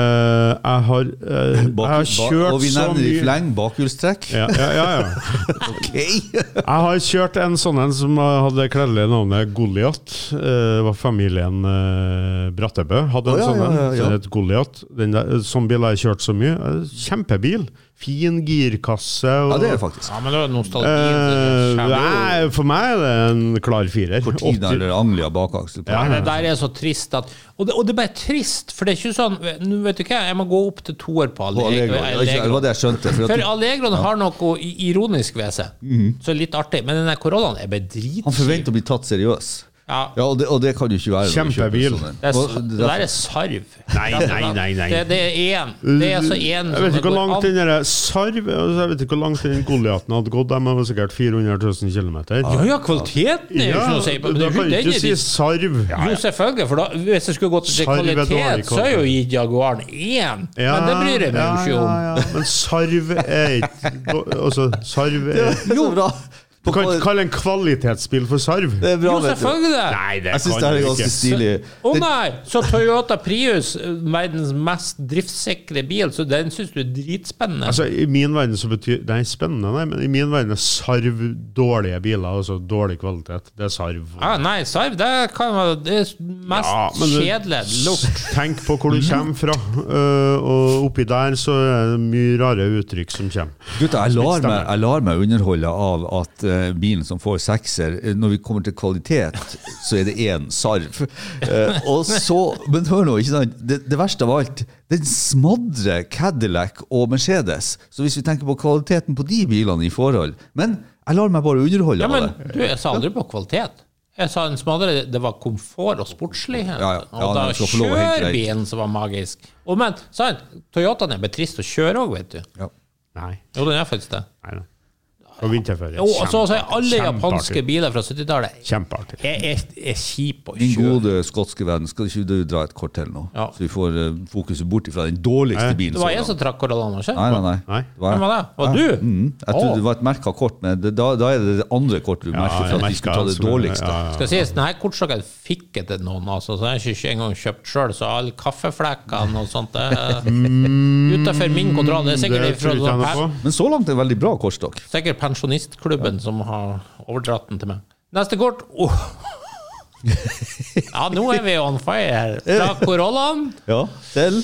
S4: jeg har eh, Jeg har
S3: [laughs] Bak- og
S4: kjørt
S3: vi
S4: så
S3: nevner i
S4: mye
S3: fleng bakhjulstrekk. [laughs]
S4: ja, ja, ja, ja.
S3: Ok!
S4: Jeg har kjørt en sånn en som hadde kledelig navnet Goliat. Det var familien eh, Brattebø. Hadde en
S3: Å, ja,
S4: sånn
S3: ja,
S4: en.
S3: ja, ja.
S4: som het Goliat. Den der, sånn bil har jeg kjørt så mye. Eh, Kjempebil. Fin girkasse.
S3: Ja,
S4: Og,
S3: det er det faktisk.
S1: Ja, men det var nostalgi.
S4: Eh,
S1: det kommer jo-
S4: nei, for meg er det en klar firer.
S3: Cortina
S4: 80
S3: eller Anglia bakaksel på.
S1: Nei, det der er så trist at og det, og det er bare trist, for det er ikke sånn Nå vet du hva, jeg må gå opp til toer på
S3: På Allegro.
S1: Allegro.
S3: Ja, ikke- Det var det jeg Mhm. skjønte. For
S1: For
S3: at
S1: Allegroen har noe i- ironisk ved seg, så litt artig. Men den der Corollaen er bare
S3: han
S1: dritkjip.
S3: forventer å bli tatt seriøs.
S1: Ja.
S3: Ja, og det, og det kan du ikke være. når du kjøper
S4: Kjempebil.
S3: sånn en.
S1: Det, er,
S3: Og
S1: s- det der er sarv.
S4: Nei, nei, nei, nei.
S1: Det, det er én. Det er så én
S4: Jeg vet
S1: som
S4: ikke hvor
S1: går
S4: langt
S1: an.
S4: den der sarv altså, Jeg vet ikke hvor langt den Goliaten hadde gått. De var sikkert 400 000 km.
S1: Ja, ja, kvaliteten er jo ikke noe å si på. men
S4: da
S1: det er jo ikke
S4: kan du
S1: den
S4: ikke
S1: i
S4: si
S1: de-
S4: sarv.
S1: Jo, selvfølgelig, for da, hvis det skulle gått til
S4: Sarv er dårlig
S1: kvalitet, så er jo gitt Jaguaren én. Men det bryr jeg meg jo
S4: ja,
S1: ikke om.
S4: ja, ja. Men sarv er ikke Altså,
S3: [laughs]
S4: sarv
S3: det
S4: er
S3: er så bra. på
S4: Du kan ikke
S3: hva-
S4: kalle en kvalitetsbil for sarv.
S3: Det er bra,
S1: Jo,
S3: vet du.
S1: selvfølgelig! det.
S4: Nei, det
S3: Jeg syns
S4: kan
S3: det her
S4: du
S3: er
S4: ikke.
S3: ganske stilig.
S1: Å
S3: Den-
S1: nei! Så Toyota Prius, eh, verdens mest driftssikre bil, så den syns du er dritspennende?
S4: Altså, I min verden så betyr Nei, spennende, nei, men i min verden er sarv dårlige biler. Altså dårlig kvalitet. Det er sarv.
S1: ja, Ah, nei, Sarv, det kan være det er mest
S4: Ja, men det-
S1: kjedelige lukt.
S4: Tenk på hvor du kommer fra, øh, og oppi der så er det mye rare uttrykk som kommer.
S3: Gutta, jeg lar, meg, jeg lar meg underholde av at eh, bilen som får sekser eh, Når vi kommer til kvalitet, så er det én sarv.
S1: [laughs]
S3: Eh, og så, men hør nå, ikke sant? Det, det verste av alt, den smadrer Cadillac og Mercedes. Så hvis vi tenker på kvaliteten på de bilene i forhold Men jeg lar meg bare underholde
S1: Ja, men
S3: av det.
S1: du, jeg sa aldri på kvalitet. Jeg sa en smadre, det var komfort og sportslighet.
S3: Ja, ja. Ja,
S1: og da
S3: den skal få lov å henge deg.
S1: kjørebilen som var magisk. Og men, sant, Toyotaen er betrist å kjøre òg, vet du.
S3: Ja.
S4: Nei.
S1: Jo, den er faktisk det.
S4: nei, nei. Og vinterføre.
S1: Jo, og så så er
S4: Kjempeartig.
S1: alle
S4: Kjempeartig.
S1: japanske biler fra 70-tallet
S4: Kjempeartig.
S1: er, er, er kjipe å
S3: Min
S1: kjøre.
S3: gode skotske venn, skal ikke du dra et kort til nå?
S1: Ja.
S3: Så vi får eh, fokuset bort fra den dårligste bilen.
S1: Det var jeg
S3: så langt.
S1: som trakk koronaen, ikke
S3: Nei, nei, nei.
S4: Nei.
S3: Det var jeg.
S1: Hvem var det? Var det du?
S3: Mm. Jeg
S4: Ah.
S3: trodde det var et merka kort, men det, da, da er det det andre kortet du merker for at
S4: jeg
S3: vi
S4: merker
S3: skulle ta det
S4: altså, men-
S3: dårligste.
S4: ja, ja.
S1: Skal sies, denne kortstokken fikk jeg til noen, altså, så jeg har ikke engang kjøpt sjøl. Så alle kaffeflekkene og sånt det er
S3: Mm.
S1: utenfor min kontroll. Det er
S4: Det
S1: sikkert fra
S4: tror jeg ikke jeg noe på.
S3: Men så langt er det en veldig bra kortstokk.
S1: Sikkert pensjonistklubben som har overdratt den til meg. Neste kort. Åh. ja, nå er vi on fire. Fra Corollaen.
S3: Ja, til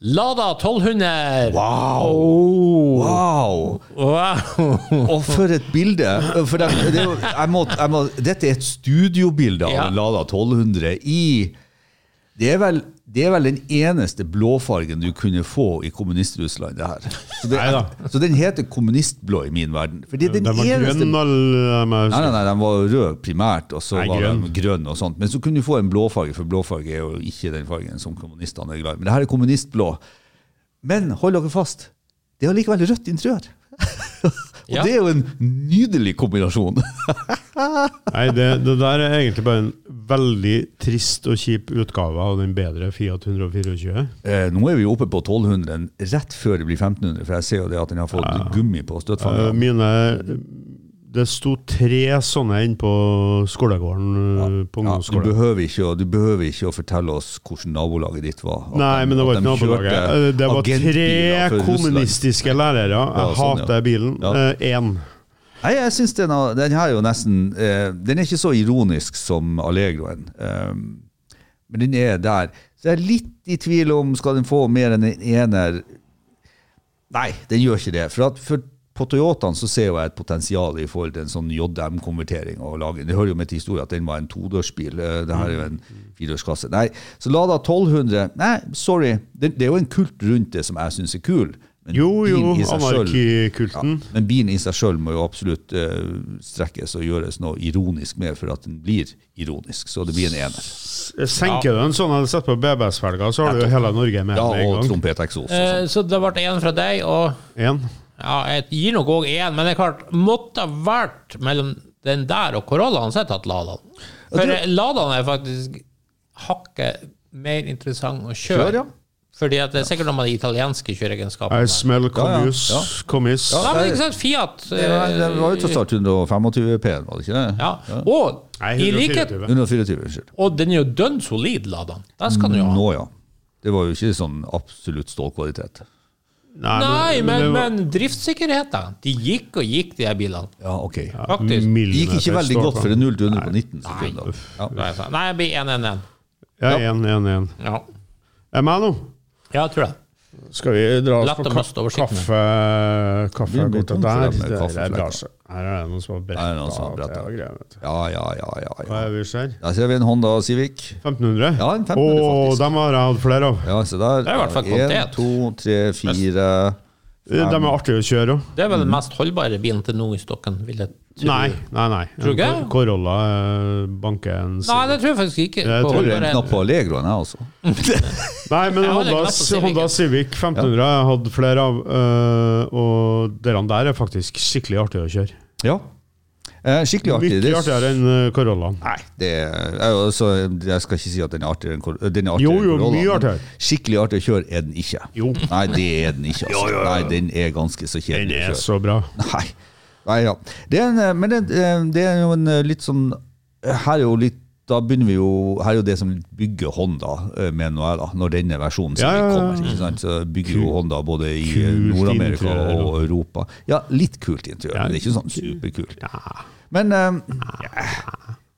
S1: Lada 1200.
S3: Wow!
S4: Oh.
S1: Åh.
S3: Wow!
S1: wow.
S3: Og for et bilde! For det, det, er jo- jeg må, jeg må, dette er et studiobilde av
S1: Ja.
S3: en Lada 1200 i det er, vel, det er vel den eneste blåfargen du kunne få i Kommunist-Russland, det her. Så, det,
S4: Neida.
S3: så den heter kommunistblå i min verden. For det er den
S4: De var eh,
S3: eneste
S4: grønne, alle de
S3: Nei,
S4: her.
S3: nei, nei, den var rød primært, og så
S4: Nei,
S3: var den
S4: grønn.
S3: grønn og sånt. Men så kunne du få en blåfarge, for blåfarge er jo ikke den fargen som kommunistene er glad i. Men det her er kommunistblå. Men hold dere fast, det er allikevel rødt interiør. [laughs] og
S1: Ja.
S3: det er jo en nydelig kombinasjon. [laughs]
S4: Nei, det, det der er egentlig bare en veldig trist og kjip utgave av den bedre Fiat 124.
S3: eh, nå er vi jo oppe på 1200 rett før det blir 1500, for jeg ser jo det at den har fått gummi på
S4: Eh,
S3: støttfangeren.
S4: Mine Det sto tre sånne inne på skolegården eh, på
S3: Ja, du,
S4: ungdomsskolen.
S3: behøver ikke, å- du behøver ikke å fortelle oss hvordan nabolaget ditt var. At
S4: Nei,
S3: de-
S4: men det
S3: at
S4: var ikke
S3: de kjørte
S4: nabolaget. Eh, Det var
S3: agentbiler fra
S4: tre
S3: Russland.
S4: kommunistiske lærere. Jeg
S3: Ja, sånn, ja.
S4: hater bilen. Eh,
S3: Ja.
S4: Én.
S3: Nei, jeg synes den, har- den her er jo nesten eh, Den er ikke så ironisk som Allegroen. Um, men den er der. Så jeg er litt i tvil om skal den få mer enn en ener. Nei, den gjør ikke det. For, at for på Toyotaen så ser jo jeg et potensial i forhold til en sånn JM-konvertering. og lage- Det hører jo med til historien at den var en todørsbil. eh, Det her er jo en firedørskasse. Nei, så Lada 1200 Nei, sorry. Det, det er jo en kult rundt det som jeg syns er kul. men
S4: Jo, jo,
S3: bilen i seg selv-
S4: anarkikulten.
S3: ja, men bilen i seg sjøl må jo absolutt eh, strekkes og gjøres noe ironisk med for at den blir ironisk. Så det blir en ener.
S4: Senker du en sånn og setter på BBS-felga, så har du jo hele Norge med
S3: Ja,
S4: med
S3: og
S4: en gang.
S3: trompeteksos. og sånt.
S1: Eh, Så det ble én fra deg, og
S4: En.
S1: Ja, jeg gir nok òg én, men det er klart, måtte ha vært mellom den der og Corollaen, så har jeg tatt Ladaen. For eh, Ladaen er faktisk hakket mer interessant å kjøre.
S3: Kjør, ja.
S1: Fordi at det er sikkert noe med de italienske kjøreegenskapene.
S4: I Eh, smell
S3: Ja, ja,
S4: commus,
S3: ja.
S4: commis.
S1: Nei, men ikke sant, Fiat
S3: Det var-
S1: eh,
S3: det var jo tross alt 125 P-en, var det ikke det?
S1: ja. Og
S4: Nei,
S1: i likhet
S4: 124.
S3: 124, unnskyld.
S1: Og den er jo dønn solid, Ladaen. Den skal den jo ha.
S3: Nå, ja. Det var jo ikke sånn absolutt stålkvalitet.
S1: Nei, men,
S4: det var-
S1: men driftssikkerheten. De gikk og gikk, de her bilene.
S3: Ja, ok. Det
S1: Faktisk.
S4: Millimeter
S3: gikk ikke veldig
S4: står
S3: godt
S4: på.
S3: for en 0 til 100 på 19 sekunder. Ja.
S1: Nei, jeg blir 1-1-1.
S4: Ja, en, en, en. Eh,
S1: Ja.
S4: Er det meg nå?
S1: ja, jeg tror det.
S4: Skal vi dra oss
S1: Latt
S4: på
S1: dem
S4: ka
S1: møste over skikkene.
S4: kaffe... Kaffe
S3: Begynner å bli
S4: borte
S3: tom for
S4: der.
S3: dem med
S4: Der er altså.
S3: kaffeflekker.
S4: brasse. Her er det noen som har bretta.
S3: Her er det noen som har brettet.
S4: av det og greier, vet du.
S3: Ja, ja, ja, ja,
S4: Hva
S3: ja.
S4: er det vi ser?
S3: Der ser vi en Honda Civic.
S4: 1500?
S3: Ja, en 1500 faktisk.
S4: Å, dem har jeg hatt flere av.
S3: Ja, se
S1: er
S3: der.
S1: i hvert fall
S3: En,
S1: kvalitet.
S3: to, tre, fire
S4: De Eh, er artige å kjøre òg.
S1: Det er vel den mest holdbare bilen til nå i stokken, vil jeg tro.
S4: Nei, nei, nei.
S1: Tror du ikke?
S4: En Cor- Corolla eh, banker en
S1: Nei,
S4: Civic.
S1: det tror jeg faktisk ikke.
S4: Jeg
S1: På
S4: tror det er
S1: holdbare-
S3: Knapp på Allegroen, jeg, altså.
S4: Nei, men
S1: Jeg hadde
S4: Honda,
S1: knapt på Civicen.
S4: Honda Civic 1500 har jeg hatt flere av. eh, og dere der er faktisk skikkelig artige å kjøre.
S3: Ja. Eh, Skikkelig artig.
S4: Mye
S3: Det-
S4: artigere enn eh, Corollaen.
S3: Nei, det er, altså, jeg skal ikke si at den er artigere enn kor- øh, den er artigere
S4: Jo, jo,
S3: enn Corolla,
S4: mye
S3: men
S4: artigere.
S3: Skikkelig artig å kjøre er den ikke.
S4: Jo. [laughs]
S3: Nei, det er den ikke. Altså. Nei, den er ganske så
S4: Den
S3: kjedelig å
S4: er
S3: kjøre.
S4: så bra.
S3: Nei. Nei, ja. Det er en, eh, men det, eh, det er jo en eh, litt sånn Her er jo litt da begynner vi jo, Her er jo det som bygger Honda, eh, mener jeg, da, når denne versjonen
S4: Ja, ja,
S3: sikkert
S4: ja.
S3: kommer. ikke sant? Så bygger jo Honda både i eh,
S4: Kult
S3: Nord-Amerika
S4: interiør,
S3: og
S4: da.
S3: Europa. Ja, litt kult interiør,
S4: Ja.
S3: men det er ikke sånn superkult. Men eh,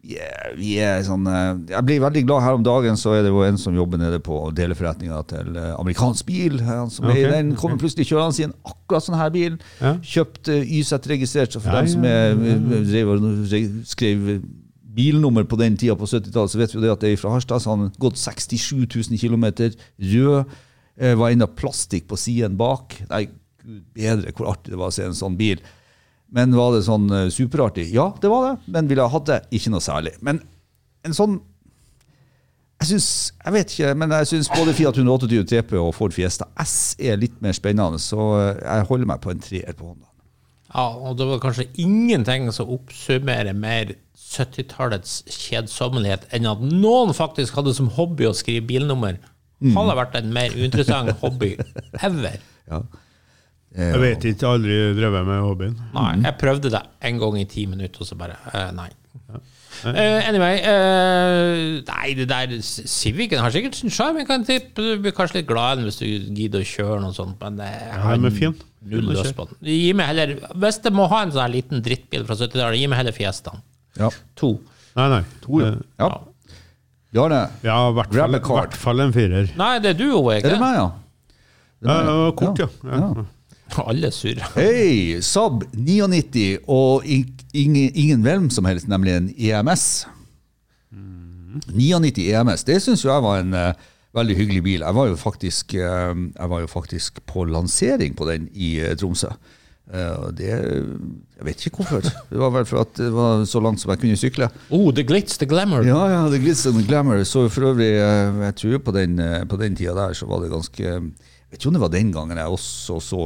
S3: ja, vi er sånn eh, Jeg blir veldig glad her om dagen, så er det jo en som jobber nede på deleforretninga til eh, amerikansk bil. Han som er i
S4: Ok,
S3: den kommer plutselig kjørende i en akkurat sånn her bil.
S4: Ja.
S3: Kjøpt eh, YZ-registrert. Så for
S4: Ja,
S3: dem som
S4: ja,
S3: er, eh, drev og re- skrev bilnummer på den tida på 70-tallet, så vet vi jo det at det er fra Harstad. Så han har gått 67 000 km. Rød. eh, Var enda plastikk på siden bak. Nei, gud bedre hvor artig det var å se en sånn bil. Men var det sånn eh, superartig? Ja, det var det. Men ville jeg hatt det? Ikke noe særlig. Men en sånn jeg synes, jeg vet ikke, men jeg syns både Fiat 128 TP og Ford Fiesta S er litt mer spennende, så eh, jeg holder meg på en treer på Honda.
S1: Ja, og det var kanskje ingenting som oppsummerer mer 70-tallets kjedsommelighet enn at noen faktisk hadde som hobby å skrive bilnummer. Hadde vært en mer interessant hobby ever.
S4: Jeg vet ikke, jeg har aldri drevet med hobbyen.
S1: Nei,
S3: Mhm.
S1: jeg prøvde det en gang i ti minutter, og så bare eh, nei. Eh, anyway eh, Nei, det der Civicen har sikkert sin sjarm. Jeg kan tippe du blir kanskje litt glad i den hvis du gidder å kjøre noe sånt, men eh, jeg har
S4: den er fin.
S1: null lyst på den. Gi meg heller, hvis jeg må ha en sånn her liten drittbil fra 70-tallet, gi meg heller Fiestaen.
S3: Ja.
S1: To.
S4: Nei, nei.
S3: ja.
S4: Eh,
S3: ja. Jarle,
S4: Ja, i hvert
S3: Grab
S4: fall,
S3: a card.
S4: hvert fall en firer.
S1: Nei, det er du, Åge.
S3: er det meg, ja?
S4: Ja, det var kort, ja. ja.
S1: [laughs] Alle er sure.
S3: Hei! Saab 99 og ing- ingen, ingen hvem som helst, nemlig en E EMS. 99 EMS. E Det syns jo jeg var en eh, veldig hyggelig bil. Jeg var, jo faktisk, eh, jeg var jo faktisk på lansering på den i eh, Tromsø. Eh, og det Jeg vet ikke hvorfor. Det var vel for at det var så langt som jeg kunne sykle.
S1: Oh, the glitz, the glamour.
S3: Ja, ja, The Glitz and the Glamour. Så for øvrig, eh, jeg tror på den, eh, på den tida der så var det ganske Jeg vet ikke om det var den gangen jeg også så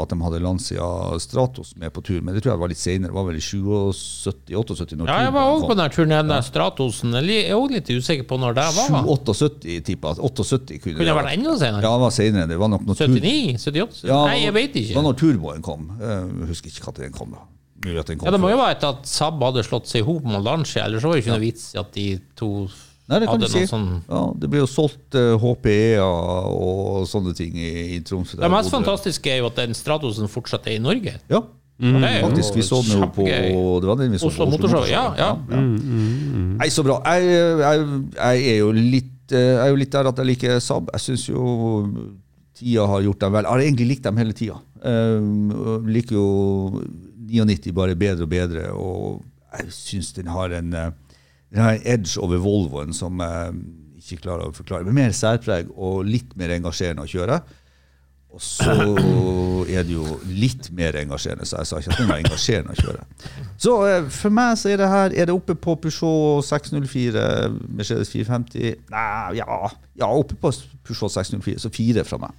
S3: at de hadde Lancia Stratos med på tur, men det tror jeg var litt senere. Det var vel i 77-78 når
S1: Ja, jeg var òg på den turen igjen, der Stratosen. Jeg er òg litt usikker på når det var.
S3: 78 tippa. 78 kunne,
S1: Kunne det vært enda senere?
S3: Ja, det var senere. Det var nok når tur-
S1: 79? 78?
S3: Ja,
S1: Nei, jeg vet
S3: Det var
S1: ikke.
S3: når turboen kom. Eh, Jeg husker ikke når den kom, da. Mulig at den kom
S1: Ja, Det må
S3: før.
S1: jo være etter at Saab hadde slått seg i hop med Lancia, ellers var det jo ikke noe vits i at de to
S3: Nei, det kan
S1: hadde
S3: du si.
S1: noe sånn
S3: Ja, det ble jo solgt eh, HPE-er og sånne ting i, i Tromsø.
S1: Det
S3: der
S1: mest
S3: bodde-
S1: fantastiske er jo at den Stratosen fortsatt er i Norge.
S3: Ja,
S1: Det er jo
S3: Faktisk, sånn vi så den jo på
S1: kjempegøy.
S3: det var den vi
S1: Mm.
S3: så på
S1: Oslo Motorshow. Ja, ja.
S3: Nei, så bra. Jeg, jeg, jeg er jo litt eh, Jeg er jo litt der at jeg liker Saab. Jeg syns jo tida har gjort dem vel. Jeg har egentlig likt dem hele tida. Jeg liker jo 99 bare bedre og bedre, og jeg syns den har en eh, den har en edge over Volvoen som jeg ikke klarer å forklare. Med mer særpreg og litt mer engasjerende å kjøre. Og så er det jo litt mer engasjerende, så jeg sa ikke at den var engasjerende å kjøre. Så eh, for meg så er det her Er det oppe på Peugeot 604, Mercedes 450 Nei, ja, ja oppe på Peugeot 604, så fire fra meg.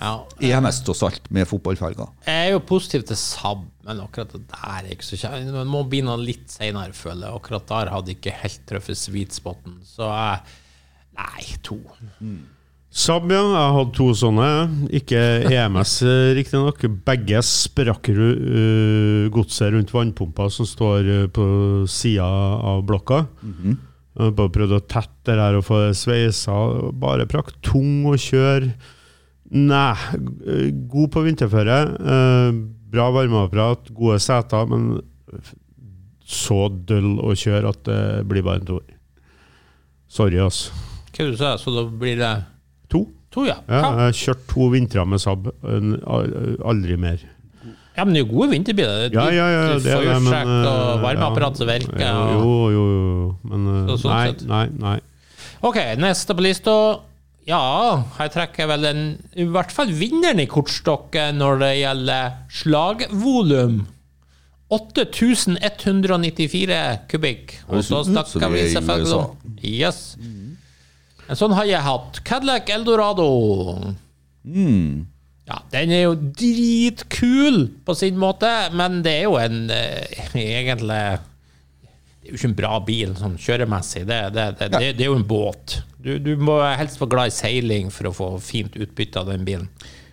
S1: ja.
S3: EMS tross alt, med fotballfelger.
S1: Jeg er jo positiv til Saab, men akkurat det der er ikke så kjent. Man må begynne litt senere, føler jeg. Akkurat der hadde jeg ikke helt truffet sweet spoten. Så jeg Nei, to.
S4: Saab, ja. Jeg hadde to sånne. Ikke E EMS, eh, riktignok. Begge sprakk ru- eh, godset rundt vannpumpa som står eh, på sida av blokka. Jeg Bare prøvde å tette det der og få det sveisa. Bare prakk. Tung å kjøre. Nei, g- god på vinterføre. eh, Bra varmeapparat, gode seter, men f- så døll å kjøre at det blir bare en toer. Sorry, altså.
S1: Hva du sa Så da blir det
S4: To.
S1: to, ja.
S4: Ja,
S1: ja.
S4: jeg har kjørt to vintre med Saab. en- al- Aldri mer.
S1: Ja, men det er jo gode vinterbiler. Det er
S4: Ja, ja, ja.
S1: dyrt,
S4: Det er det, men,
S1: førsjekk
S4: eh,
S1: og varmeapparat som virker.
S4: ja.
S1: og-
S4: Jo, jo, jo. jo, Men eh,
S1: Så sånn
S4: nei,
S1: sett.
S4: nei, nei.
S1: Ok, neste på lista. Ja, her trekker jeg vel en, i hvert fall vinneren i kortstokket når det gjelder slagvolum. 8194 kubikk. Og
S3: Høres
S1: så
S3: ut som
S1: snakker
S3: vi er
S1: vi
S3: i
S1: selvfølgelig om Yes. En sånn har jeg hatt. Cadillac Eldorado.
S3: Mm.
S1: Ja, den er jo dritkul på sin måte, men det er jo en eh, egentlig Det er jo ikke en bra bil sånn kjøremessig. Det, det, det, det, det er jo en båt. Du, du må helst være glad i seiling for å få fint utbytte av den bilen.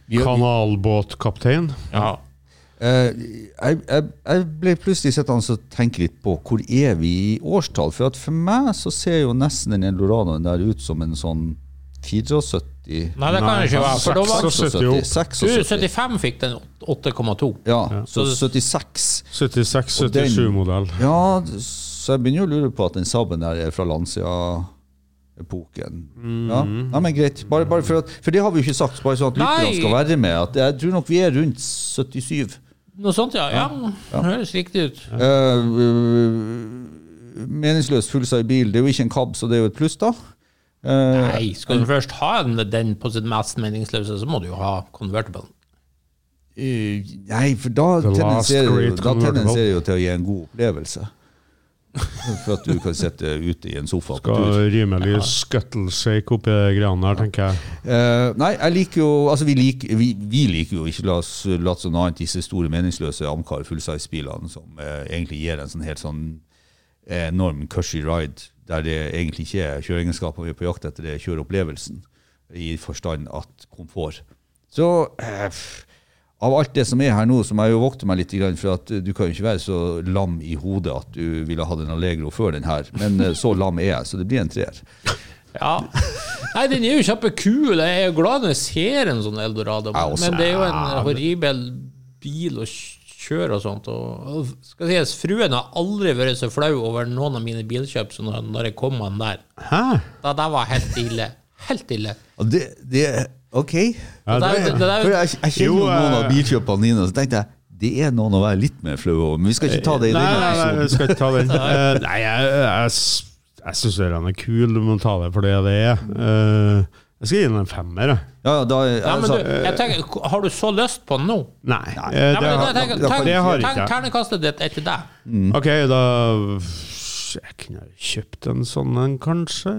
S3: Vi,
S4: Kanalbåtkaptein.
S1: Ja.
S3: Eh, jeg, jeg, jeg ble plutselig sittende og tenke litt på hvor er vi i årstall. For at for meg så ser jo nesten den Eldoradoen der ut som en sånn 74
S1: Nei, det kan det ikke være. For da var
S3: 76.
S1: du
S3: 76.
S1: 75 fikk den 8,2.
S3: Ja, så 76.
S4: 76-77-modell.
S3: Ja, så jeg begynner jo å lure på at den Saben der er fra Lancia-epoken. Ja.
S4: Mhm.
S3: Nei, men greit. Bare, bare for, at, for det har vi jo ikke sagt, bare sånn at
S1: Nei.
S3: lytterne skal være med. At jeg tror nok vi er rundt 77.
S1: Noe sånt, ja. ja. Høres riktig ut.
S3: Eh, meningsløs fullsa i bil, det er jo ikke en cab, så det er jo et pluss, da. Eh,
S1: Nei, skal du først ha den, den på sitt mest meningsløse, så må du jo ha convertible.
S3: eh, nei, for da
S4: The last
S3: tendenserer jo,
S4: great
S3: da
S4: convertible.
S3: tendenserer jo til å gi en god opplevelse. For at du kan sitte ute i en sofa. på tur.
S4: Skal rimelig scuttleshake oppi de greiene her, tenker jeg.
S3: Eh, nei, jeg liker jo Altså, vi liker, vi, vi liker jo ikke la oss late som noe annet disse store, meningsløse Amcar fullsize-bilene som eh, egentlig gir en sånn helt sånn eh, enorm cushy ride, der det egentlig ikke er kjøreegenskaper vi er på jakt etter, det er kjøreopplevelsen, i forstand at komfort. Så eh, pff, av alt det som er her nå, så må jeg jo vokte meg litt, grann, for at eh, du kan jo ikke være så lam i hodet at du ville hatt en Allegro før den her, men eh, så lam er jeg, så det blir en treer.
S1: Ja. Nei, den er jo kjempekul. Jeg er jo glad når jeg ser en sånn Eldorado, men,
S3: også,
S1: men det er jo en horribel bil å kjøre og sånt. Og, og skal sies, fruen har aldri vært så flau over noen av mine bilkjøp som når, når jeg kom med den der.
S4: Hæ?
S1: Da, det var helt ille. Helt ille.
S3: Og det, det OK.
S4: Ja,
S1: det,
S4: det,
S1: er- det, det,
S3: For
S1: er-
S3: jeg, jeg kjenner jo
S4: Jo,
S3: noen
S4: eh,
S3: av bilkjøpene dine, og så tenkte jeg det er noen å være litt mer flau over, men vi skal ikke ta det i
S4: nei,
S3: denne
S4: nei, nei, vi
S3: episoden.
S4: skal ikke ta
S1: [laughs]
S4: den. Eh, nei, jeg, jeg, s- jeg syns den er kul. Du må ta det for det det er. Eh, jeg skal gi den en femmer, jeg.
S3: Ja, ja, da,
S1: Nei, men
S3: altså,
S1: du, jeg tenker, har du så lyst på den nå?
S4: Nei. eh,
S1: Nei,
S4: det,
S1: men,
S4: har-
S1: jeg tenker,
S3: det har
S1: tenk-
S4: det har ikke
S1: tenk-
S4: jeg.
S1: Ternekastet ditt er til deg.
S3: Mm.
S4: Ok, da Jeg kunne jo kjøpt en sånn en, kanskje.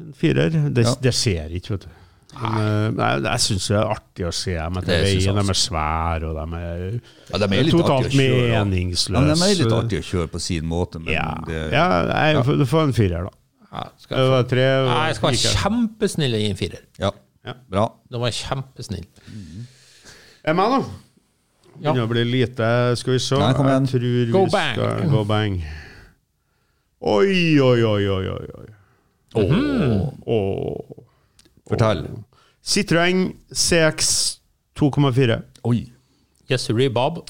S4: En firer. Det,
S3: Ja.
S4: det ser ikke, vet du. Men, eh, nei, jeg syns det er artig å se dem etter
S3: Det synes jeg
S4: veien. De
S3: også.
S4: er svære, og de er,
S3: ja, de er litt
S4: totalt
S3: artige å kjøre. da. Ja, men de er litt
S4: meningsløse.
S3: artige å kjøre på sin måte, men
S4: eh, Ja,
S3: det,
S4: ja nei, få- få en firer, da.
S1: Ja, skal
S4: Det
S1: jeg,
S4: var tre.
S1: Nei, jeg skal være
S4: gikk jeg.
S1: kjempesnill i en firer.
S3: ja.
S4: Ja.
S3: Bra.
S1: Nå var jeg kjempesnill.
S4: Er meg, da?
S1: Ja.
S4: Begynner å bli lite. Skal vi se.
S3: Nei, kom igjen.
S4: Jeg tror
S1: Go
S4: vi
S1: bang.
S4: skal go bang. Oi, oi, oi, oi, oi. oi.
S1: Mhm.
S4: Åh.
S3: Fortell.
S4: Citroën CX 2,4.
S3: Oi.
S1: Yes, Ree Bob.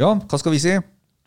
S3: Ja, hva skal vi si?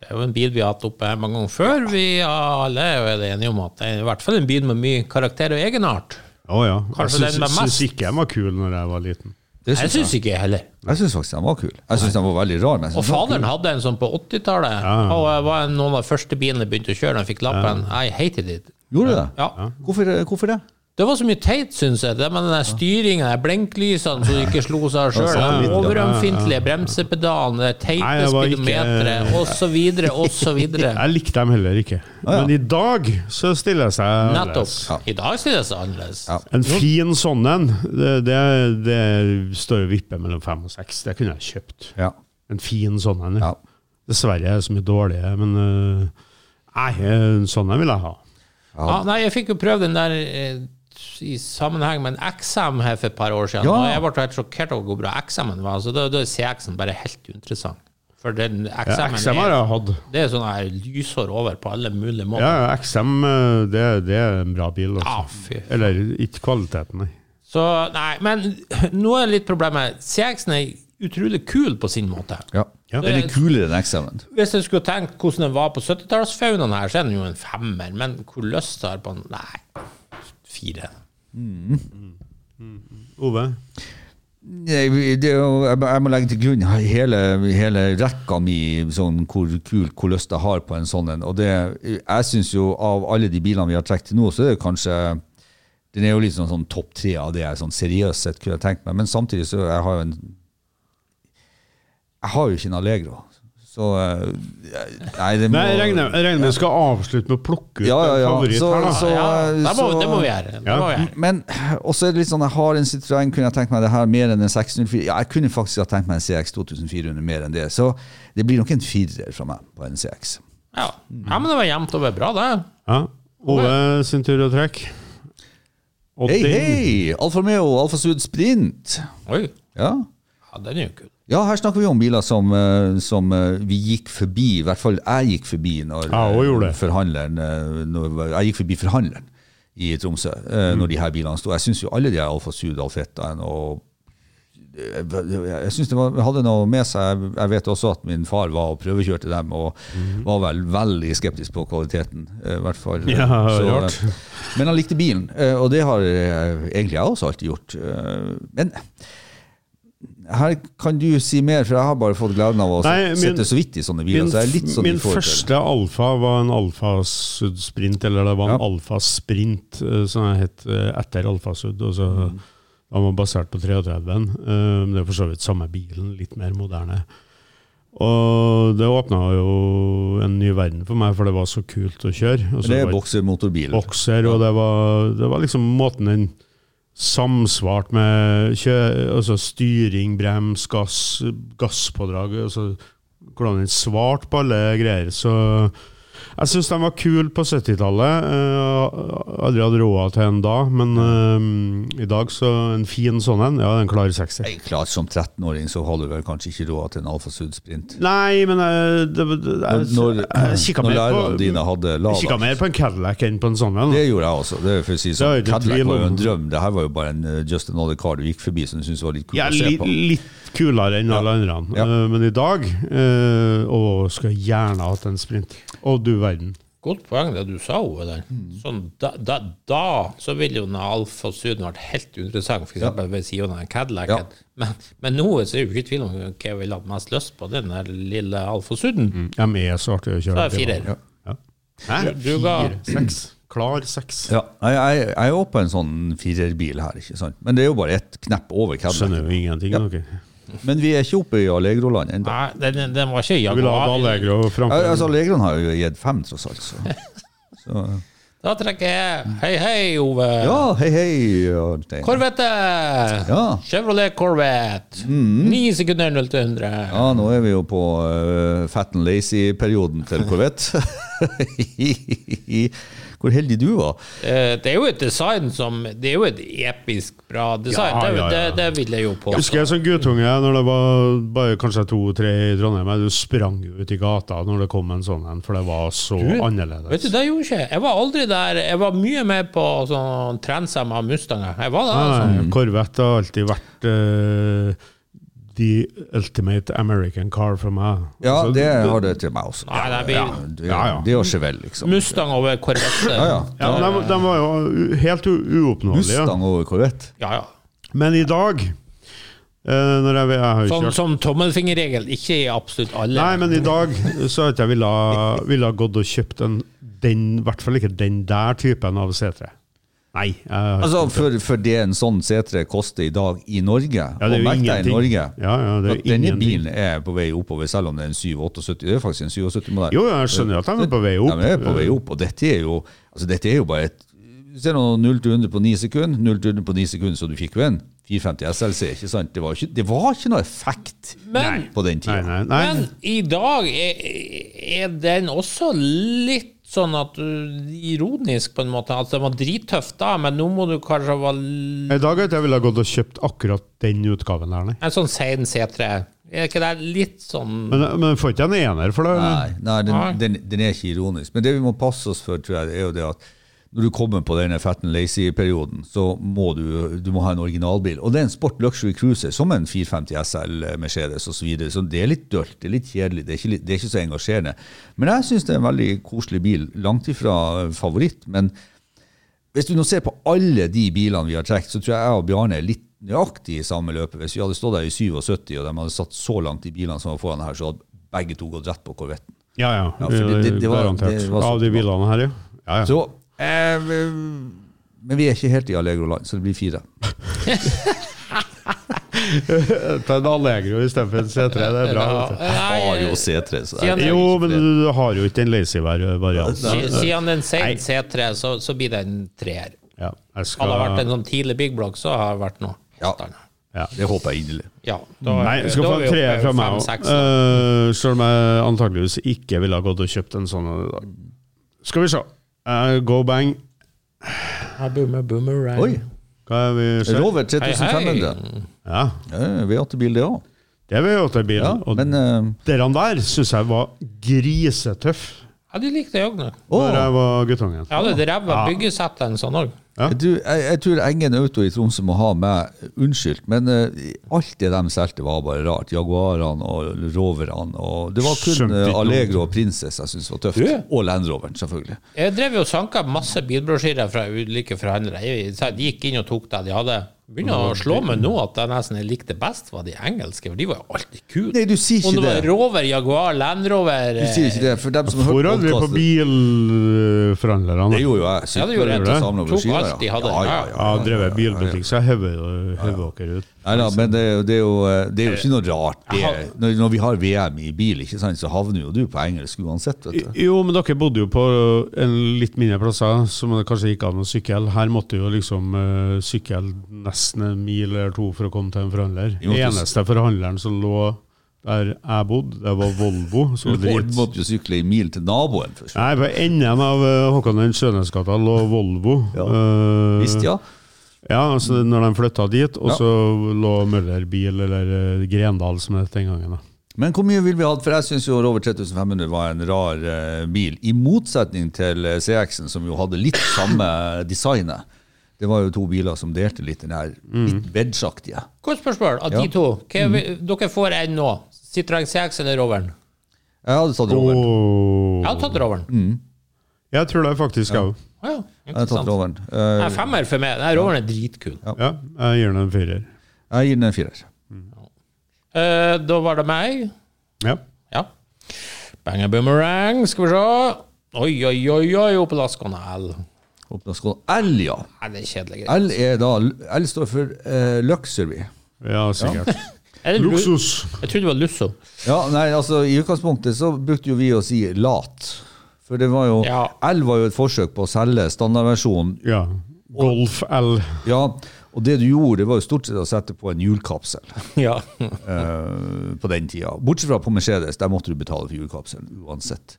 S1: Det er jo en bil vi har hatt oppe her mange ganger før. Vi alle er jo enige om at det er i hvert fall en bil med mye karakter og egenart.
S4: Å ja. Jeg
S1: Kanskje
S4: syns,
S1: den var
S4: syns
S1: mest.
S4: ikke den var kul når jeg var liten.
S1: Jeg
S3: Det syns jeg.
S1: syns ikke jeg heller.
S3: Jeg syns faktisk den var kul. Jeg syns den var veldig rar. Men jeg
S1: Og
S3: synes den var
S1: faderen hadde en sånn på 80-tallet.
S4: Ja.
S1: Og jeg var en- noen av de første bilene jeg begynte å kjøre da jeg fikk lappen. I hated it.
S3: kul. Gjorde det?
S1: Ja.
S3: Hvorfor, hvorfor det?
S1: Det var så mye teit, syns jeg. Det med den styringa, blinklysene så du ikke slo seg sjøl,
S3: Ja,
S1: den
S3: sånn.
S1: overømfintlige bremsepedalen, det
S4: Nei,
S1: teite
S4: jeg var ikke-
S1: speedometeret, osv., osv.
S4: [laughs] Jeg likte dem heller ikke. Men i dag så stiller jeg seg annerledes.
S1: Nettopp. I dag sier det seg annerledes.
S3: Ja.
S4: En fin sånn en, det, det, det står og vipper mellom fem og seks. Det kunne jeg kjøpt.
S3: Ja.
S4: En fin sånn en.
S3: ja.
S4: Ja. Dessverre er det så mye dårlige, men øh, nei, en sånn en vil jeg ha.
S1: Ja, nei, jeg fikk jo prøvd den der eh, i sammenheng med en XM her for et par år siden,
S3: Ja.
S1: og jeg ble helt sjokkert over hvor bra XM-en var. Så da, da er CX-en bare helt uinteressant. For den
S4: Ja,
S1: XM-en
S4: XM har
S1: er,
S4: jeg hatt.
S1: det er sånn her lyshår over på alle mulige
S4: Ja,
S1: måter.
S4: ja, XM øh, det, det er en bra bil.
S1: Ja,
S4: Altså.
S1: Ah, fy.
S4: Eller ikke kvaliteten, nei.
S1: Så nei, men [clears throat] nå er litt problemet. CX-en er utrolig kul på sin måte.
S3: ja.
S4: Ja.
S3: Den er kulere enn eksamen.
S1: Hvis jeg skulle tenkt hvordan den var på 70-tallsfaunaen her, så er den jo en femmer, men hvor lyst har jeg på den? Nei, fire.
S4: Ove?
S3: Nei, vi- det, er jo- jeg må- jeg må legge til grunn hele, hele rekka mi, sånn, hvor kul, hvor lyst jeg har på en sånn en. Og det, jeg syns jo av alle de bilene vi har trukket til nå, så er det kanskje Den er jo litt sånn, sånn topp tre av det jeg sånn seriøst sett kunne tenkt meg, men samtidig så jeg har jo en Jeg har jo ikke en Allegro, så eh, Nei, det må
S4: Nei, jeg regner jeg regner med du skal avslutte med å plukke ut
S3: Ja, ja,
S4: en
S3: ja.
S4: favoritt
S3: Så-
S4: her, da.
S3: så-
S1: ja, det må,
S3: så-
S1: det må vi gjøre. Det
S4: Ja.
S1: må vi gjøre.
S3: Men også er det litt sånn, jeg har en Citroën, kunne jeg tenkt meg det her mer enn en 604? Ja, jeg kunne faktisk ha tenkt meg en CX 2400 mer enn det, så det blir nok en firer fra meg på en CX.
S1: Ja. ja, men det var jevnt over bra, det.
S4: Ja. Ove sin tur å trekke. Og
S3: Hei,
S4: den-
S3: hei! Alfa Romeo, Alfa Sud Sprint.
S1: Oi.
S3: Ja.
S1: Ja, den er jo kul.
S3: Ja, her snakker vi om biler som, eh, som eh, vi gikk forbi, i hvert fall jeg gikk forbi når
S4: Ja, og gjorde det.
S3: forhandleren eh, når, Jeg gikk forbi forhandleren i Tromsø
S4: Mm.
S3: eh, når de her bilene sto. Jeg syns jo alle de her Alfa Sud, Alfettaen og jeg, jeg synes det var, hadde noe med seg. Jeg vet også at min far var og prøvekjørte dem, og
S4: Mm.
S3: var vel veldig skeptisk på kvaliteten. eh, I hvert fall.
S4: Ja, rart.
S3: eh, men han likte bilen, eh, og det har eh, egentlig jeg også alltid gjort. eh, Men her kan du si mer, for jeg har bare fått gleden av å
S4: Nei, min-
S3: sitte så vidt i sånne biler.
S4: Min,
S3: så jeg er litt sånn
S4: min
S3: i forhold til-
S4: første alfa var en alfasud sprint, eller det var en
S3: Ja.
S4: alfa sprint eh, som jeg het eh, etter alfasud. Og så
S3: Mm.
S4: Den var basert på 33-en. eh, men Det er for så vidt samme bilen, litt mer moderne. Og det åpna jo en ny verden for meg, for det var så kult å kjøre. Og så
S3: Det er
S4: var-
S3: boksermotorbil.
S4: bokser, og det var, det var liksom måten den samsvart med kjø, altså styring, brems, gass, gasspådrag, altså hvordan den svarte på alle greier. Så jeg syns de var kule på 70-tallet. Eh, Aldri hatt råd til en da, men eh, i dag så en fin sånn en, ja, den klarer 60.
S3: Nei, klart som 13-åring så har du vel kanskje ikke råd til en Alfa Sud Sprint.
S4: Nei, men eh, det, det, jeg,
S3: Når,
S4: jeg kikket
S3: når
S4: mer på-
S3: lærerne dine hadde
S4: jeg kikket
S3: lada.
S4: mer på en Cadillac enn på en sånn en.
S3: Det gjorde jeg også. Det er for å si
S4: er
S3: sånn,
S4: det ikke tvil
S3: Cadillac var jo
S4: om.
S3: en drøm. Det her var jo bare en eh, just another car du gikk forbi som du syntes var litt kult
S4: Ja,
S3: å se
S4: li,
S3: på.
S4: litt kulere enn alle andre.
S3: Ja.
S4: Eh, men i dag uh, Å, skulle jeg gjerne hatt en sprint. Å, du verden.
S1: Godt poeng det du sa, Ove. der.
S3: Mm.
S1: Sånn, da, da, da så ville jo den Alfa Suden vært helt interessant, f.eks. eksempel ved siden av den Cadillacen.
S3: Ja.
S1: Men, men nå så er det jo ikke tvil om hva jeg ville hatt mest lyst på, den der lille Alfa Suden.
S3: Mm.
S4: De er så artige å kjøre.
S1: Da er det firer.
S4: Ja. Ja. Hæ?
S1: Du ga-
S4: Fire, seks. Klar seks.
S3: Ja, jeg, jeg, jeg er jo på en sånn firerbil her, ikke sant? men det er jo bare ett knepp over Cadillac.
S4: Skjønner jo ingenting, dere.
S3: Men vi er ikke oppe i Allegroland ennå.
S1: Nei, den, den- den var ikke
S4: Jeg vil ha et
S1: januar.
S4: Allegro
S3: Ja, altså,
S4: framfor
S3: Legrand har jo gitt fem, tross alt. Så.
S4: [laughs]
S1: Da trekker jeg Hei, hei, Ove.
S3: Ja, hei, hei. Arnstein.
S1: Corvette!
S3: Ja. Mm.
S1: Chevrolet Corvette. Ni sekunder 0 til 100.
S3: Ja, nå er vi jo på eh, fat and lazy-perioden til Corvette. [laughs] Hvor heldig du var.
S1: Eh, Det er jo et design som Det er jo et episk bra design.
S4: Ja,
S1: det,
S4: ja, ja.
S1: Det, det vil jeg jo
S4: Jeg
S1: påstå.
S4: Husker jeg som guttunge, når det var bare kanskje to-tre i Trondheim, jeg- du sprang jo ut i gata når det kom en sånn en, for det var så
S1: Vet du, det
S4: annerledes.
S1: gjorde ikke jeg. Jeg var aldri der. Jeg var mye med på sånn Transam av Mustanger. Jeg var der,
S4: Ah,
S1: altså.
S4: Nei, Sånn Corvette har alltid vært eh, the ultimate American car for meg.
S3: Ja,
S4: Altså,
S3: det har det til meg også.
S1: Nei, nei, vi-
S3: ja, det,
S4: Ja, ja.
S3: det er jo Chevelle, liksom.
S1: Mustang over Corvette.
S3: Ja, ja.
S4: Ja, men de, de var jo u- helt u- uoppnåelige.
S3: Mustang over Corvette.
S1: Ja, ja.
S4: Men i dag eh, når jeg, jeg har jo
S1: Sånn,
S4: kjørt
S1: sånn tommelfingerregel. Ikke i absolutt alle.
S4: Nei, men i dag så hadde jeg ville, ville ha gått og kjøpt en den, i hvert fall ikke den der typen av C3. Nei. Jeg,
S3: Altså, for, for det en sånn C3 koster i dag i Norge,
S4: ja, det er
S3: og
S4: jo
S3: merk deg i
S4: ingenting.
S3: Norge
S4: Ja, ja, det er
S3: at Denne
S4: ingenting.
S3: bilen er på vei oppover, selv om det er en 778. Det er faktisk en 77-modell.
S4: Jo, jeg skjønner jo at de er på vei
S3: Ja,
S4: opp.
S3: men det er på vei opp, og dette er jo, altså, dette er jo bare et Se nå, 0 til 100 på 9 sekunder, 0 til 100 på 9 sekunder, så du fikk jo en 450 SLC, ikke sant? Det var ikke, det var ikke noe effekt
S1: Men-
S3: på den tida.
S4: Nei, nei, nei.
S1: Men i dag er, er den også litt sånn at du Ironisk, på en måte. At den var drittøff da, men nå må du kanskje være l-
S4: I dag hadde jeg ville ha gått og kjøpt akkurat den utgaven der, nei.
S1: en sånn sein C3. Er ikke det litt sånn
S4: Men, men får ikke jeg en ener for det? eller?
S3: Nei, nei, den,
S1: Nei.
S3: Den, den er ikke ironisk. Men det vi må passe oss for, tror jeg, det er jo det at når du kommer på denne fatten lazy-perioden, så må du, du må ha en originalbil. Og det er en Sport Luxury Cruiser, som en 450 SL eh, Mercedes osv. Så, videre. så det er litt dølt, det er litt kjedelig, det er ikke, litt- det er ikke så engasjerende. Men jeg syns det er en veldig koselig bil. Langt ifra eh, favoritt, men hvis du nå ser på alle de bilene vi har trukket, så tror jeg jeg og Bjarne er litt nøyaktig i samme løpet. Hvis vi hadde stått der i 77, og de hadde satt så langt i bilene som var foran her, så hadde begge to gått rett på Corvetten.
S4: Ja, ja. Eh,
S3: Ja, for det- det- det var-
S4: garantert.
S3: det var så-
S4: Av de bilene her, ja. ja, ja.
S3: Så eh, vi- Men vi er ikke helt i Allegro land, så det blir fire.
S4: Ta en Allegro istedenfor en C3, det er bra. vet du.
S1: Nei,
S3: C3, så
S1: Sier han-
S4: Jo, men du du har jo ikke den lazy-varianten.
S1: si- Sier han en sein C3, så, så blir det en treer.
S4: Ja, jeg skal,
S1: Hadde det vært en sånn tidlig big block, så hadde det vært noe.
S3: Ja.
S1: helt annet.
S4: ja.
S3: Det håper jeg inderlig.
S1: ja da,
S4: Nei, jeg skal
S1: da
S4: få
S1: er vi
S4: en
S1: oppe i
S4: treer fra meg
S1: fem,
S4: òg.
S1: seks, da.
S4: Selv om jeg antakeligvis ikke ville ha gått og kjøpt en sånn. i dag. Skal vi se. Eh, Go bang.
S1: Ja, boomer, boomerang.
S3: Oi!
S4: Hva er vi ser?
S3: Rover
S1: Hei,
S3: 3500.
S1: hei.
S4: Ja,
S3: Ja, V8-bil, det òg.
S4: det er V8-bilen.
S3: Ja,
S4: og
S3: men eh,
S4: den der syns jeg var grisetøff
S1: Ja, de likte jeg òg nå.
S3: å,
S4: da jeg var
S1: Jeg
S4: guttungen.
S1: hadde et ræva byggesett en sånn òg.
S4: Ja.
S3: jeg, tror- jeg, jeg tror Engen Auto i Tromsø må ha meg unnskyldt, men eh, alt det de solgte, var bare rart. Jaguarene og Roverne. Og det var
S4: Skjønte
S3: kun
S4: ikke
S3: eh,
S4: noe.
S3: Allegro og Princess jeg syntes var tøft.
S1: Du?
S3: Og Land Roveren, selvfølgelig.
S1: Jeg drev jo og sanka masse bilbrosjyrer fra ulike forhandlere. Jeg sa- De gikk inn og tok det de hadde. Begynner å slå meg nå at det nesten jeg likte best, var de engelske, for de var jo alltid kule.
S3: Nei, du sier
S1: Om det
S3: ikke
S1: var
S3: det.
S1: Rover, Jaguar, Land Rover
S3: Du sier ikke det, for dem som har
S4: Hvor
S3: hørt
S4: er vi på
S3: podcasten-
S4: bilforhandlerne?
S3: Det gjorde jo jeg.
S1: Ja, det gjorde jeg.
S3: Samlet
S1: Tok
S3: brosjyrer,
S1: alt de hadde.
S3: Ja, ja, ja.
S4: Ja, drevet bilbutikk, så jeg hever hever dere ut.
S3: Nei da, men det, er jo- det, er jo, eh, det er jo ikke noe rart. Det, er- når, når vi har VM i bil, ikke sant, så havner jo du på engelsk uansett. Vet du.
S4: Jo, men dere bodde jo på en litt mindre plasser, som det kanskje gikk an å sykle. Her måtte jo liksom eh, sykle nesten en mil eller to for å komme til en forhandler.
S3: Vi måtte jo s-
S4: Eneste forhandleren som lå der jeg bodde, det var Volvo. Så
S3: Du
S4: drit.
S3: måtte jo sykle en mil til naboen først.
S4: Nei, på enden av eh, Håkon den Skjønnhetsgata lå Volvo.
S3: Ja.
S4: Eh,
S3: Visst, ja.
S4: Ja, altså når de flytta dit, og
S3: Ja.
S4: så lå Møller bil, eller eh, Grendal som det het den gangen. da.
S3: Men hvor mye vil vi ha? For jeg syns jo Rover 3500 var en rar eh, bil. I motsetning til eh, CX-en, som jo hadde litt samme designet. Det var jo to biler som delte litt den her litt veggsaktige.
S1: Kort spørsmål av de
S3: Ja. Mm.
S1: to. Hva vi, dere får en nå. Citroën CX eller Roveren?
S3: Jeg hadde tatt Roveren.
S1: Jeg
S4: Åh.
S1: har tatt Roveren.
S4: Jeg tror det faktisk jeg
S1: Å
S4: òg.
S1: ja,
S3: Mm. Jeg hadde tatt
S1: interessant.
S3: Roveren. Eh,
S1: Nei, femmer for meg. Nei, Roveren er dritkul.
S4: Ja, jeg gir den en firer.
S3: Jeg gir den en firer.
S1: Eh, da var det meg.
S4: Ja.
S1: Ja. Banger boomerang, skal vi se. Oi, oi, oi, oi, opp på laskene L.
S3: Åpna skål. L, ja.
S1: Nei, det er kjedelig.
S3: L, er da, L står for eh, luxury.
S4: Ja, sikkert.
S1: Er det lu-
S4: Luksus.
S1: Jeg trodde det var lusso.
S3: Ja, nei, altså I utgangspunktet så brukte jo vi å si lat. For det var jo
S1: Ja.
S3: L var jo et forsøk på å selge standardversjonen.
S4: Ja. Golf L.
S3: Ja, og det du gjorde, det var jo stort sett å sette på en hjulkapsel
S1: [laughs]
S3: [laughs]
S1: Ja.
S3: eh, på den tida. Bortsett fra på Mercedes, der måtte du betale for hjulkapselen uansett.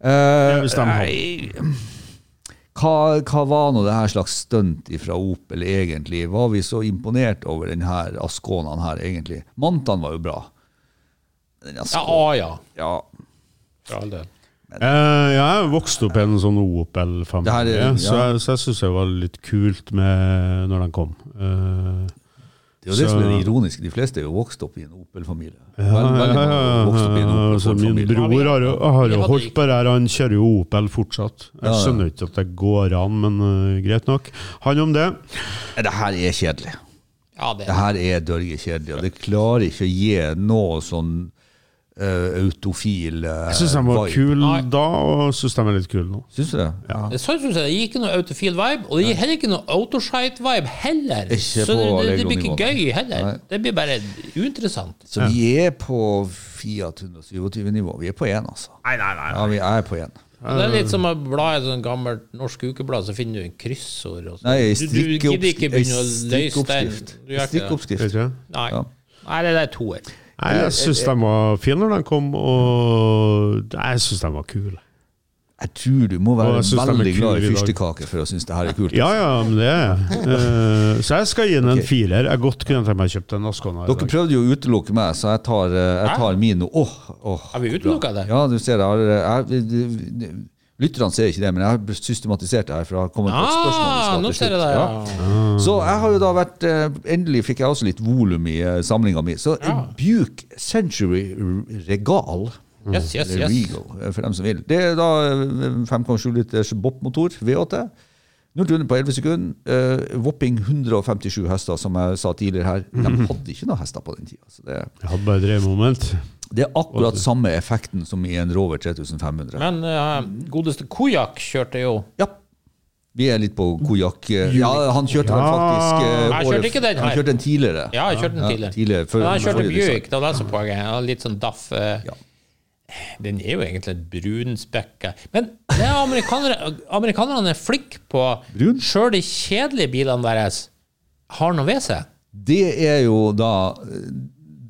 S3: Eh,
S4: Hvis de hadde.
S3: nei, hva, hva var nå det her slags stunt fra Opel egentlig? Var vi så imponert over denne Asconaen her egentlig? Mantan var jo bra. Den
S1: Ja,
S3: Ascona,
S1: A, ja.
S3: ja.
S1: For all del.
S4: Eh, jeg vokste opp i en sånn Opel-familie,
S3: Det her er-
S4: så
S3: ja.
S4: jeg, så jeg syns det var litt kult med når den kom. Eh,
S3: Det er jo det
S4: Så-
S3: som er det ironiske. De fleste er jo vokst opp i en Opel-familie. Vel-
S4: ja,
S3: veldig
S4: ja,
S3: mange er jo vokst opp i en
S4: ja, altså, min
S3: Opel-familie.
S4: bror har jo, har
S1: Vi
S4: jo
S1: hadde
S4: holdt på det her, han kjører jo Opel fortsatt. Jeg
S3: Ja, ja.
S4: skjønner ikke at det går an, men eh, greit nok. Han om det.
S3: Nei, Det her er kjedelig.
S1: Ja, det
S3: Det her er dørge kjedelig, og det klarer ikke å gi noe sånn eh, autofil uh,
S4: Jeg syns de var kule
S1: Nei.
S4: da, og syns de er litt kule nå.
S3: Syns du det? Ja.
S1: Det sånn synes jeg, det gir ikke noe autofil vibe, og det gir heller ikke noe autoshite-vibe heller.
S3: Ikke
S1: så det,
S3: på
S1: det, det blir
S3: Lego-nivå.
S1: ikke gøy heller.
S3: Nei.
S1: Det blir bare uinteressant.
S3: Så vi er på Fiat 127-nivå. Vi er på én, altså. Nei, nei, nei. Ja, vi er på én.
S1: Og det er
S3: Eh.
S1: litt som å bla i et sånt gammelt norsk ukeblad, så finner du en kryssord. Og sånt.
S3: Nei, ei
S1: Du- du gidder
S3: strikkeoppsk-
S1: ikke
S3: ei
S1: begynne å løse den.
S3: strikkeoppskrift.
S1: Du gjør ikke det.
S4: Vet
S3: Strikkeoppskrift.
S4: ikke?
S1: Nei.
S3: Ja.
S1: Nei, det er toer.
S4: Nei, jeg
S3: eh,
S4: syns de var fine når de kom, og Nei, jeg syns de var kule.
S3: Jeg tror du må
S4: Og
S3: være
S4: jeg synes de er
S3: veldig glad
S4: kule
S3: i
S4: i dag.
S3: fyrstekake for å synes det her er kult.
S4: Ja, ja, men det er jeg. Eh, Så jeg skal gi den en firer. Jeg godt kunne tenkt meg å kjøpe en Ascona. i
S3: Dere
S1: Altså,
S4: dag.
S3: prøvde jo å utelukke meg, så jeg tar, eh, jeg tar min nå. Åh, åh.
S1: Har vi utelukka det?
S3: Ja, du ser det. Jeg, har- jeg, lytterne ser ikke det, men jeg har systematisert det her. For det har kommet på et spørsmål vi
S1: Ah,
S3: skal
S1: nå
S3: til
S1: ser jeg
S3: slutt.
S1: det,
S3: Ja.
S1: ja.
S3: Så jeg har jo da vært eh, Endelig fikk jeg også litt volum i eh, samlinga mi. Så en Buick Century Regal
S1: Yes, yes,
S3: eller
S1: yes.
S3: Regal, eh, for dem som vil. Det er da eh, 5,7 liters Bopp-motor, V8. 0 til 100 på 11 sekunder. eh, whopping 157 hester, som jeg sa tidligere her.
S1: Mhm.
S3: De hadde ikke noen hester på den tida. Så det,
S4: Jeg hadde bare dreiemoment.
S3: det er akkurat samme effekten som i en Rover 3500.
S1: Men eh, godeste Kojak kjørte jo
S3: Ja. Vi er litt på kojakk. eh, Ja, han kjørte vel
S4: Ja.
S3: faktisk eh,
S1: Jeg
S3: året-
S1: kjørte ikke den
S3: Han
S1: her.
S3: kjørte den tidligere.
S1: Ja, jeg kjørte den tidligere.
S3: tidligere, før-
S1: Men jeg kjørte
S3: forrige
S1: Buick, det var det som var poenget. Jeg var Litt sånn daff. eh,
S3: Ja.
S1: Den er jo egentlig et brunspekka Men det er amerikanere, amerikanerne er flinke på
S3: Brun?
S1: Sjøl de kjedelige bilene deres har noe ved seg.
S3: Det er jo da eh,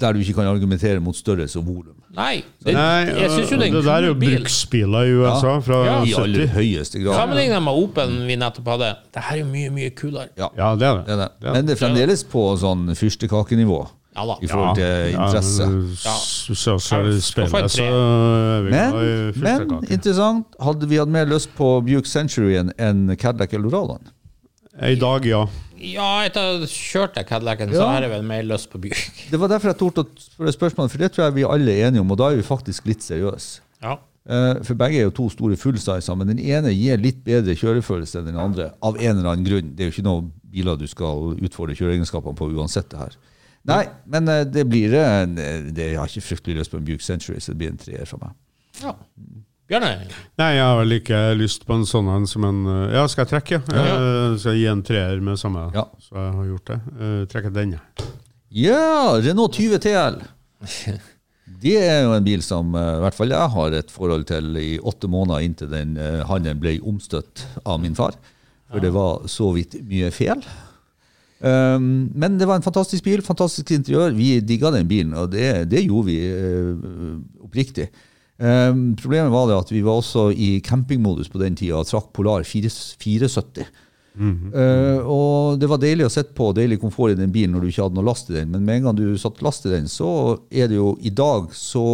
S3: der du ikke kan argumentere mot størrelse og volum.
S1: Nei, det,
S4: Nei,
S1: jeg syns jo det er
S4: det der
S1: en
S4: er jo
S1: kul bil.
S4: bruksbiler i USA
S3: Ja.
S4: fra
S1: Ja.
S3: I aller
S4: 70.
S3: høyeste grad.
S1: Sammenligna med Opelen vi nettopp hadde, det her er jo mye, mye kulere.
S3: Ja,
S4: Ja, det er
S3: det er
S4: det.
S3: det. Men det er fremdeles på sånn fyrstekakenivå
S1: Ja da.
S3: i forhold til interesse.
S4: Ja, men så skal
S1: Ja.
S4: det spille, så er vi
S3: Men,
S4: glad i
S3: men
S4: fyrstekake.
S3: interessant, hadde vi hatt mer lyst på Buick Centuryen enn Cadillac Eldoradoen?
S4: I dag, ja.
S1: Ja, etter at jeg kjørte Cadillacen, så
S3: Ja.
S1: har jeg vel mer lyst på
S4: [laughs]
S1: Bjørk.
S3: Det var derfor jeg torde å spørre spørsmålet, for det tror jeg vi alle er enige om, og da er vi faktisk litt seriøse.
S1: Ja.
S3: Eh, For begge er jo to store fullsizer, men den ene gir litt bedre kjørefølelse enn den andre. Av en eller annen grunn. Det er jo ikke noen biler du skal utfordre kjøreegenskapene på uansett det her. Nei, men eh, det blir en eh, det, Jeg har ikke fryktelig lyst på en Buick Century, så det blir en treer for meg.
S1: ja. Bjørne?
S4: Nei, jeg har vel ikke lyst på en sånn en som en eh, Ja, skal jeg trekke? Ja. Eh, Skal jeg gi en treer med samme?
S3: Ja.
S4: Så jeg har gjort det. Eh, Trekker den, jeg.
S3: Ja, Renault 20 TL. Det er jo en bil som eh, i hvert fall jeg har et forhold til i åtte måneder inntil den eh, handelen ble omstøtt av min far. For det var så vidt mye fel. Um, men det var en fantastisk bil, fantastisk interiør. Vi digga den bilen, og det, det gjorde vi eh, oppriktig. Um, problemet var det at vi var også i campingmodus på den tida og trakk Polar 4, 470. Eh, og det var deilig å sitte på, deilig komfort i den bilen når du ikke hadde noe last i den. Men med en gang du satt last i den, så er det jo i dag så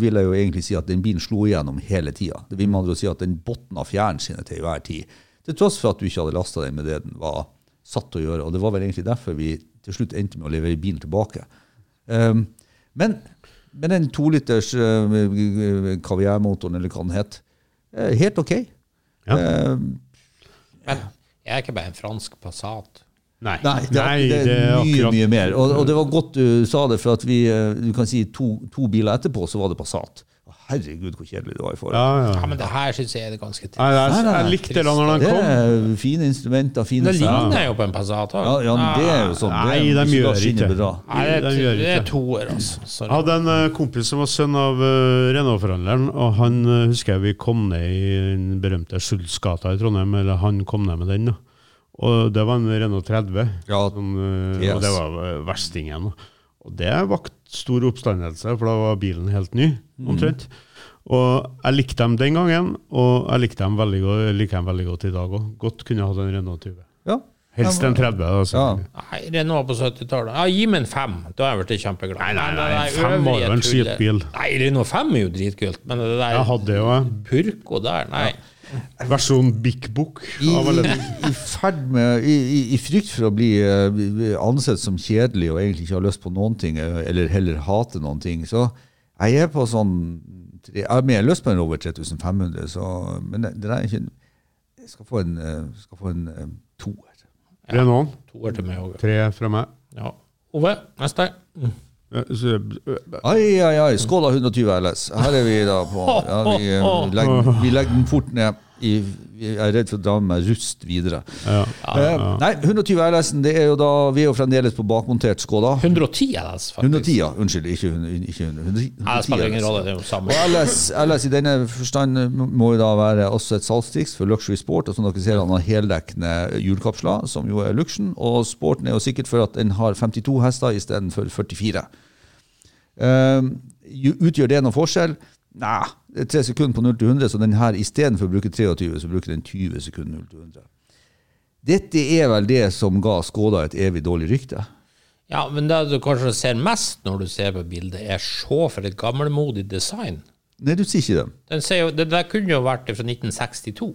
S3: vil jeg jo egentlig si at den bilen slo igjennom hele tida. Det vil med andre ord si at den botna fjæren sine til enhver tid. Til tross for at du ikke hadde lasta den med det den var satt til å gjøre. Og det var vel egentlig derfor vi til slutt endte med å levere bilen tilbake. Um, men med den toliters uh, kaviarmotoren, eller hva den het, eh, helt OK.
S4: Ja.
S1: Men jeg er ikke bare en fransk Passat.
S4: Nei.
S3: Nei, det, det, er mye, mye mer. Og, og det var godt du sa det, for at vi eh, du kan si to, to biler etterpå så var det Passat. Å, herregud, hvor kjedelig det var i forhold.
S4: Ja, ja.
S1: Ja, men det her syns jeg er ganske trist.
S4: Nei, jeg,
S3: nei, nei.
S4: jeg likte det når den
S3: Det
S4: kom.
S3: er fine instrumenter, fine
S1: Det
S3: sound.
S1: ligner jo på en Passat òg.
S3: Ja, ja, men det er jo sånn.
S4: Nei,
S3: det
S4: de
S3: er,
S4: gjør
S3: ikke
S4: ikke.
S3: bra.
S1: Nei, det,
S4: Den gjør
S1: er- det er
S4: ikke.
S1: toer, altså. Sorry.
S4: Jeg hadde en eh, kompis som var sønn av eh, Renault-forhandleren, og han eh, husker jeg vi kom ned i den berømte Schulzgata i Trondheim, eller han kom ned med den. da. Og det var en Renault 30,
S3: Ja,
S4: sånn, eh,
S3: yes.
S4: og det var eh, verstingen. Og det vakt stor oppstandelse, for da var bilen helt ny,
S3: Mm.
S4: omtrent. Og jeg likte dem den gangen, og jeg likte dem veldig godt, jeg liker dem veldig godt i dag òg. Godt kunne jeg hatt en Renault 20.
S3: Ja.
S4: Helst en altså. 30. da,
S3: Ja.
S4: selvfølgelig.
S1: Nei, Renault på 70-tallet. Ja, gi meg en fem, da er jeg blitt kjempeglad.
S4: Nei, nei,
S1: Men
S4: nei,
S1: det der
S4: fem var
S1: øvrige
S4: jo en
S1: tullet-
S4: skitbil.
S1: Nei, Renault 5 er jo dritkult, men det der
S4: Jeg hadde jo jeg.
S1: Purko der, nei.
S4: versjon Big Book. Av alle
S3: I, i, ferd med, i, i, I frykt for å bli eh, ansett som kjedelig og egentlig ikke har lyst på noen ting, eh, eller heller hate noen ting, så jeg er på sånn tre- Jeg har mer lyst på en Rover 3500, så, men det, det der er ikke en- Jeg skal få en, eh, skal få en eh, toer.
S4: Renault.
S1: Toer til meg òg.
S4: Tre fra meg.
S1: Ja. Ove, neste.
S4: Eh, så, eh,
S3: Ai, ai, ai. Skål av 120 LS. Her er vi da på ja, vi, eh, legger, vi legger den fort ned. I, jeg er redd for å dra med meg rust videre.
S4: Ja.
S3: Eh, nei, 120 RS-en, det er jo da Vi er jo fremdeles på bakmontert Skoda.
S1: 110 er det, altså, faktisk.
S3: 110, ja. Unnskyld, ikke 100. Ikke 100 110,
S1: Nei, det spiller ingen
S3: altså.
S1: rolle, det er jo samme.
S3: Og LS, LS i denne forstand eh, må jo da være også et salgstriks for luxury sport. og som dere ser Han har heldekkende hjulkapsler, som jo er luxen. Og sporten er jo sikkert for at den har 52 hester istedenfor 44. Ehm, ju- utgjør det noen forskjell? Nei, det er tre sekunder på 0 til 100, så den her istedenfor å bruke 23, så bruker den 20 sekunder 0 til 100. Dette er vel det som ga Skoda et evig dårlig rykte?
S1: Ja, men det du kanskje ser mest når du ser på bildet, er se for et gammelmodig design.
S3: Nei, du sier ikke det.
S1: Den ser jo, det der kunne jo vært fra 1962,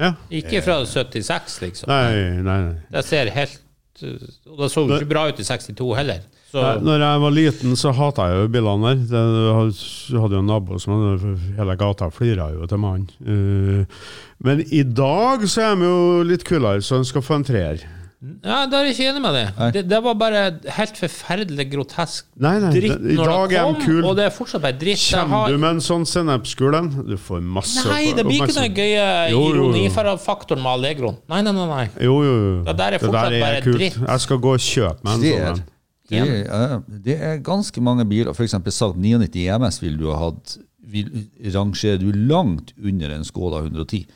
S4: ja.
S1: ikke fra 76, liksom.
S4: Nei, nei, nei.
S1: Det ser helt uh, Og det så jo ikke bra ut i 62 heller. Så
S4: Nei, Når jeg var liten, så hata jeg jo bilene der. Det- Jeg hadde jo en nabo som hadde hele gata flira jo til mannen. Eh, Men i dag så er de jo litt kulere, så han skal få en treer.
S1: Ja, da er jeg ikke enig med det. det. Det var bare helt forferdelig grotesk
S4: Nei, nei,
S1: dritt
S4: det- i
S1: når
S4: dag
S1: det
S4: er de
S1: kom,
S4: kul.
S1: og det er fortsatt bare dritt. Det
S4: Kommer
S1: har-
S4: du med en sånn sennepsgul en, du får masse
S1: Nei, det blir ikke eh, den
S4: oppmerksomhet.
S1: gøye
S4: Jo, jo, jo.
S1: ironifaktoren med Allegroen. Nei, nei, nei. nei.
S4: Jo, jo, jo.
S1: Det der er fortsatt bare dritt.
S4: Jeg skal gå og kjøpe meg en
S3: Det
S4: sånn
S3: er,
S4: en.
S3: det, er, det er ganske mange biler. F.eks. Saab 99 MS vil du ha hatt vil, rangerer du langt under en Skoda 110.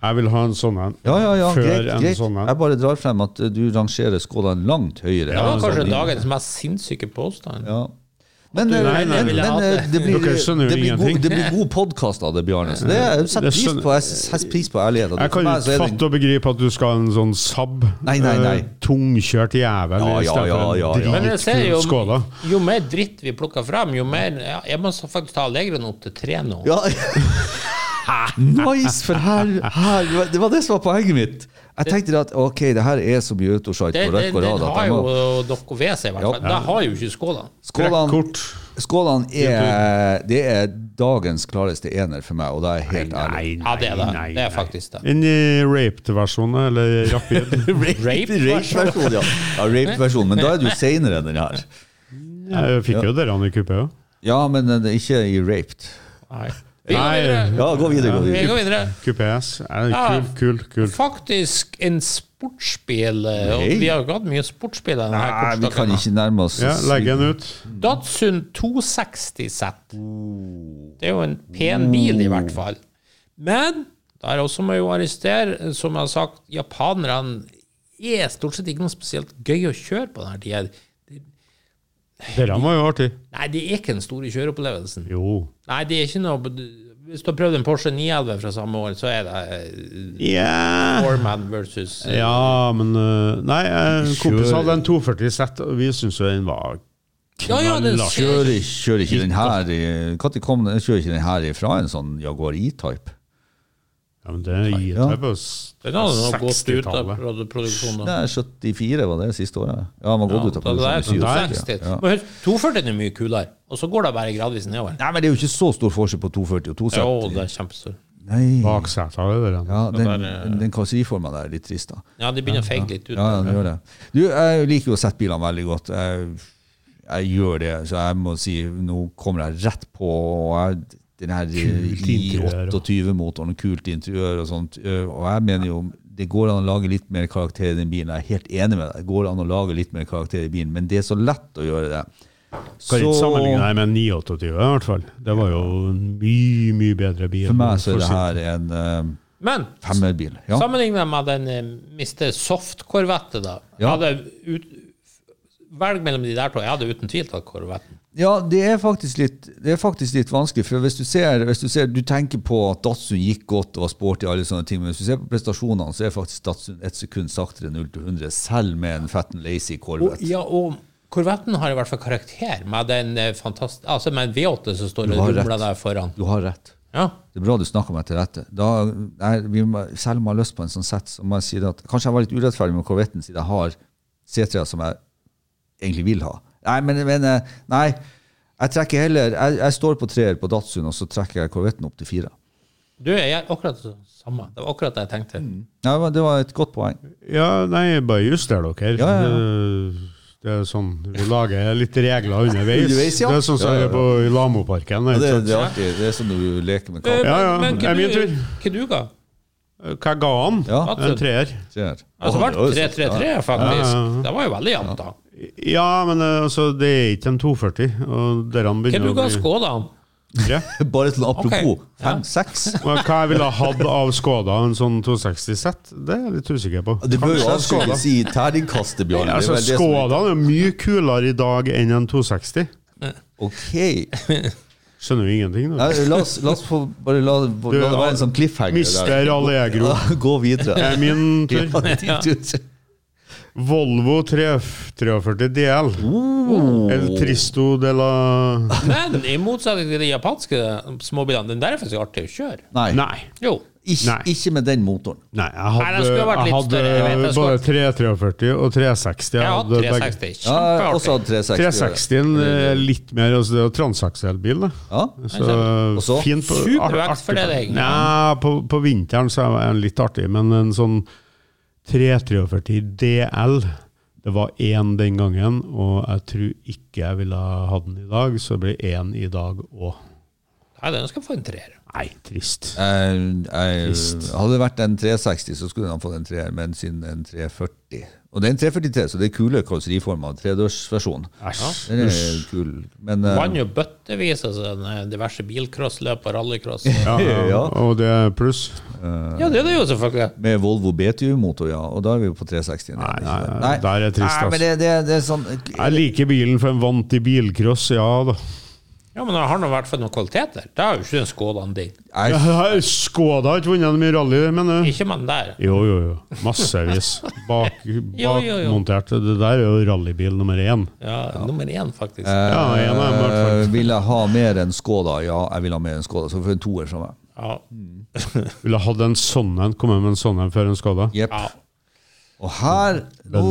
S4: Jeg vil ha en sånn en.
S3: Ja, ja, ja,
S4: Før
S3: greit.
S4: en
S3: greit.
S4: sånn en.
S3: Jeg bare drar frem at eh, du rangerer Skodaen langt høyere.
S1: Det var
S3: enn en sånn
S1: kanskje
S3: bil.
S1: dagens mest sinnssyke påstand.
S3: Ja. Men,
S1: At du-
S3: eh,
S1: Nei, nei,
S3: men,
S1: vil jeg
S3: men,
S1: ha
S3: eh,
S1: det.
S3: det blir,
S4: Dere skjønner jo
S3: det blir,
S4: ingenting.
S3: god, det blir god podkast av det, Bjarne. Så [laughs] det jeg setter
S4: Jeg
S3: pris
S4: skjønner-
S3: på, jeg setter pris på ærligheten.
S4: Jeg kan
S3: For
S4: jo
S3: meg så er det-
S4: fatte og begripe at du skal ha en sånn Saab.
S3: Nei, nei, nei.
S4: eh, Tungkjørt jævel
S3: Ja,
S4: i
S3: ja,
S4: stedet
S3: ja, ja, ja.
S4: for
S1: Men
S4: en
S1: jeg ser jo,
S4: dritkul skåla.
S1: jo mer dritt vi plukker fram, jo mer ja, Jeg må så faktisk ta Allegren opp til tre nå.
S3: Ja. [laughs] nice, for her, her Det var det som var poenget mitt. Jeg tenkte at ok, det her er så mye autosite
S1: Det,
S3: på
S1: det,
S3: rødt og
S1: den
S3: rad at
S1: har
S3: jeg
S1: jo
S3: må
S1: dere ved seg, i hvert
S3: Ja.
S1: fall. Da har jo ikke skålene.
S3: Skålene,
S4: Kort.
S3: skålene er, det er dagens klareste ener for meg, og da er jeg helt ærlig.
S1: [laughs] Ja, det er det. Det er faktisk det.
S4: En eh, raped-versjon, eller
S3: [laughs]
S4: rapid.
S1: Rape?
S3: Rape-versjon, ja. ja rape-versjon, men da er du seinere enn den her.
S4: Jeg fikk jo dere i kuppet òg.
S3: Ja, men den er ikke i raped.
S1: Nei. Vi går
S4: Nei.
S1: videre.
S3: Ja, gå videre, gå
S1: Vi
S3: videre.
S1: går videre.
S4: Kuppe S. Eh,
S1: Ja.
S4: Kul, kul, kul.
S1: Faktisk en sportsbil. eh,
S3: Nei.
S1: Og vi har jo hatt mye sportsbil denne
S3: Nei, vi kan
S1: kortstokken.
S3: ikke nærme oss
S4: Ja, legg den ut.
S1: Datsun 260 Z. Det er jo en pen bil, i hvert fall. Men der også må jeg jo arrestere, som jeg har sagt, japanerne er stort sett ikke noe spesielt gøy å kjøre på denne tida.
S4: Dere var jo artig.
S1: Nei, det er ikke den store kjøreopplevelsen.
S4: Jo.
S1: Nei, det er ikke noe Hvis du har prøvd en Porsche 911 fra samme år, så er det eh, Foreman versus eh,
S4: Ja, men eh, Nei, eh, en kompis hadde en 240 Z, og vi syntes jo den var
S1: Ja, ja, den
S4: knallhardt.
S1: ser-
S3: Kjører, kjører ikke den her i, Når kom den? Kjører ikke den her ifra en sånn Jaguar E-type?
S4: Ja, men det gir
S3: Ja.
S4: seg på
S1: Den hadde nok gått ut av
S4: 60-tallet.
S1: produ- produksjonen. da.
S3: Nei, 74 var det siste året. Ja, man gått ut
S1: Ja,
S3: av
S1: det sånn er
S3: produksjon i
S1: 260.
S3: 67. Ja.
S1: Men husk, 240 er mye kulere, og så går det bare gradvis nedover.
S3: Nei, men det er jo ikke så stor forskjell på 240 og
S1: Jo,
S3: 270.
S1: det er kjempestor.
S3: Nei.
S4: Baksetet av det der.
S3: Mm. Ja, den,
S1: eh,
S3: den karosseriformen der er litt trist, da.
S1: Ja, de begynner å feige litt ut.
S3: Ja, den gjør det. Du, jeg liker jo å sette bilene veldig godt. Jeg, jeg gjør det, så jeg må si nå kommer jeg rett på. og Jeg, den her
S4: Kult interiør, og-
S3: I28-motoren, kult interiør og sånt. øh, Og jeg mener jo det går an å lage litt mer karakter i den bilen. Jeg er helt enig med deg. Det går an å lage litt mer karakter i bilen, men det er så lett å gjøre det.
S4: Kan ikke
S3: Så-
S4: sammenligne deg med en 928, i hvert fall. Det var jo en mye, mye bedre bil.
S3: For meg så er det
S4: sin-
S3: her en eh,
S1: Men
S3: femmerbil. Ja.
S1: sammenlignet med den eh, Mr. Soft Corvette, da. Jeg
S3: Ja.
S1: hadde ut, velg mellom de der to. Jeg hadde uten tvil tatt Corvetten.
S3: ja, det er faktisk litt Det er faktisk litt vanskelig. For hvis du ser, hvis du, ser du tenker på at Datsun gikk godt og var sporty, og alle sånne ting, men hvis du ser på prestasjonene, så er faktisk Datsun ett sekund saktere enn 0 til 100, selv med en fetten lazy
S1: Og,
S3: Corvette.
S1: ja, og Corvetten har i hvert fall karakter med den eh, fantast... Altså med en V8 som står
S3: Du
S1: og
S3: har
S1: rumler
S3: rett.
S1: der foran.
S3: Du har rett.
S1: Ja.
S3: Det er bra du snakker meg til rette. Da, nei, vi må, selv om jeg har lyst på en sånn sett, så må jeg si det at kanskje jeg var litt urettferdig med korvetten, siden jeg har C3 som jeg egentlig vil ha. Nei, men, men eh, nei, jeg trekker heller Jeg, jeg står på treer på Datsun, og så trekker jeg korvetten opp til fire.
S1: Du jeg er akkurat det samme. Det var akkurat det jeg tenkte.
S3: Nei, men Det var et godt poeng.
S4: Ja, nei, bare juster dere.
S3: Ja, ja, ja.
S4: Det, det er sånn, vi lager litt regler underveis.
S3: Underveis, ja.
S4: Det er sånn som
S3: Ja, ja, ja.
S4: er på i Lamoparken.
S3: Ja,
S4: ikke
S3: det,
S4: sant?
S3: det er artig. Det er som du leker med
S1: Eh,
S3: kamera.
S4: ja,
S1: Men
S4: det er min tur.
S1: hva du ga?
S4: Eh, Hva ga han?
S3: Ja.
S4: En treer.
S3: Treer.
S1: Altså, det
S3: Å,
S1: ble
S3: det var jo sånn.
S1: 3-3-3, faktisk. Det var jo veldig jevnt, da.
S4: Ja, men eh, altså, det er ikke en 240. Og dere
S1: Hva
S4: begynner
S1: du ga Skådan?
S4: tre.
S3: Ja. Bare til apropos.
S1: Ok. Ja.
S4: [laughs]
S3: Fem-seks.
S4: Men hva jeg ville hatt av Skoda, en sånn 260 Z, det er jeg litt usikker på.
S3: Det bør jo
S4: Kanskje Skoda.
S3: avskytes i terningkastet, Bjørn. Det er
S4: Altså,
S3: vel det som er-
S4: Skodaen er jo mye kulere i dag enn en 260.
S3: Ok.
S4: Skjønner jo ingenting. Da.
S3: Nei, la oss, la oss få, bare la, la det være en sånn cliffhanger.
S4: Mister Allegro.
S3: Ja, gå
S4: Det
S3: videre.
S4: er min tur.
S3: [laughs] Ja, det er tur.
S4: Volvo 343 DL.
S3: Oh.
S4: El Tristo de
S3: [laughs]
S4: la
S1: Men i motsetning til de japanske småbilene, den der er faktisk artig å kjøre.
S3: Nei,
S4: Nei.
S1: Jo.
S3: Ikke,
S4: Nei.
S3: ikke med den motoren.
S4: Nei, jeg
S1: Nei,
S4: hadde,
S1: den skulle ha vært
S4: jeg
S1: litt
S4: hadde
S1: større, jeg vet, den skulle
S4: både
S1: vært-
S4: 343 og 360.
S1: Jeg har hatt
S4: hadde begge.
S1: 360.
S3: Ja, jeg har også
S1: Kjempeartig.
S3: hatt 360.
S4: 360-en er litt mer altså Det er jo transakselbil, da.
S3: Ja.
S4: Så,
S3: Og så?
S4: fint på-
S1: Supervekt
S4: artig
S1: for det,
S4: på-
S1: egentlig.
S4: Nei, på, på vinteren så er den litt artig, men en sånn 343 DL Det var én den gangen, og jeg tror ikke jeg ville ha hatt den i dag, så det blir én i dag òg.
S1: Nei, den skal få en treer.
S4: Nei, trist.
S3: Jeg, jeg, hadde det vært en 360, så skulle han fått en 3, men siden en 340 Og det er en 343, så det er kule karosseriformer. Tredørsversjon.
S4: Æsj.
S3: Den er kul. Men eh,
S1: Vant jo bøttevis altså, den, eh, diverse bilcrossløp og rallycross.
S4: Ja,
S3: Ja.
S4: og det er pluss.
S1: Ja, det er det jo, selvfølgelig.
S3: Med Volvo BTU-motor, ja. Og da er vi jo på 360.
S4: Nei, nei, nei, der er trist,
S3: Nei, men det, det, det er sånn
S4: Jeg liker bilen, for en vant i bilcross, ja da.
S1: Ja, men han har i hvert fall noen kvaliteter. Det er jo ikke den skålen din.
S3: jeg,
S4: Skoda har ikke vunnet mye rally, mener du?
S1: Ikke med den der.
S4: Jo, jo, jo. Massevis. Bak-
S1: jo, jo.
S4: Bakmontert. det der er jo rallybil nummer én.
S1: Ja, nummer én, faktisk.
S4: Ja, en av dem, i hvert fall.
S3: eh, Vil jeg ha mer enn Skoda? Ja, jeg vil ha mer enn Skoda. Så for en toer fra meg.
S1: Ja.
S4: Ville hatt en sånn en, kommet med en sånn en før en Skoda.
S3: Jepp.
S1: ja. [laughs]
S3: Og her, nå,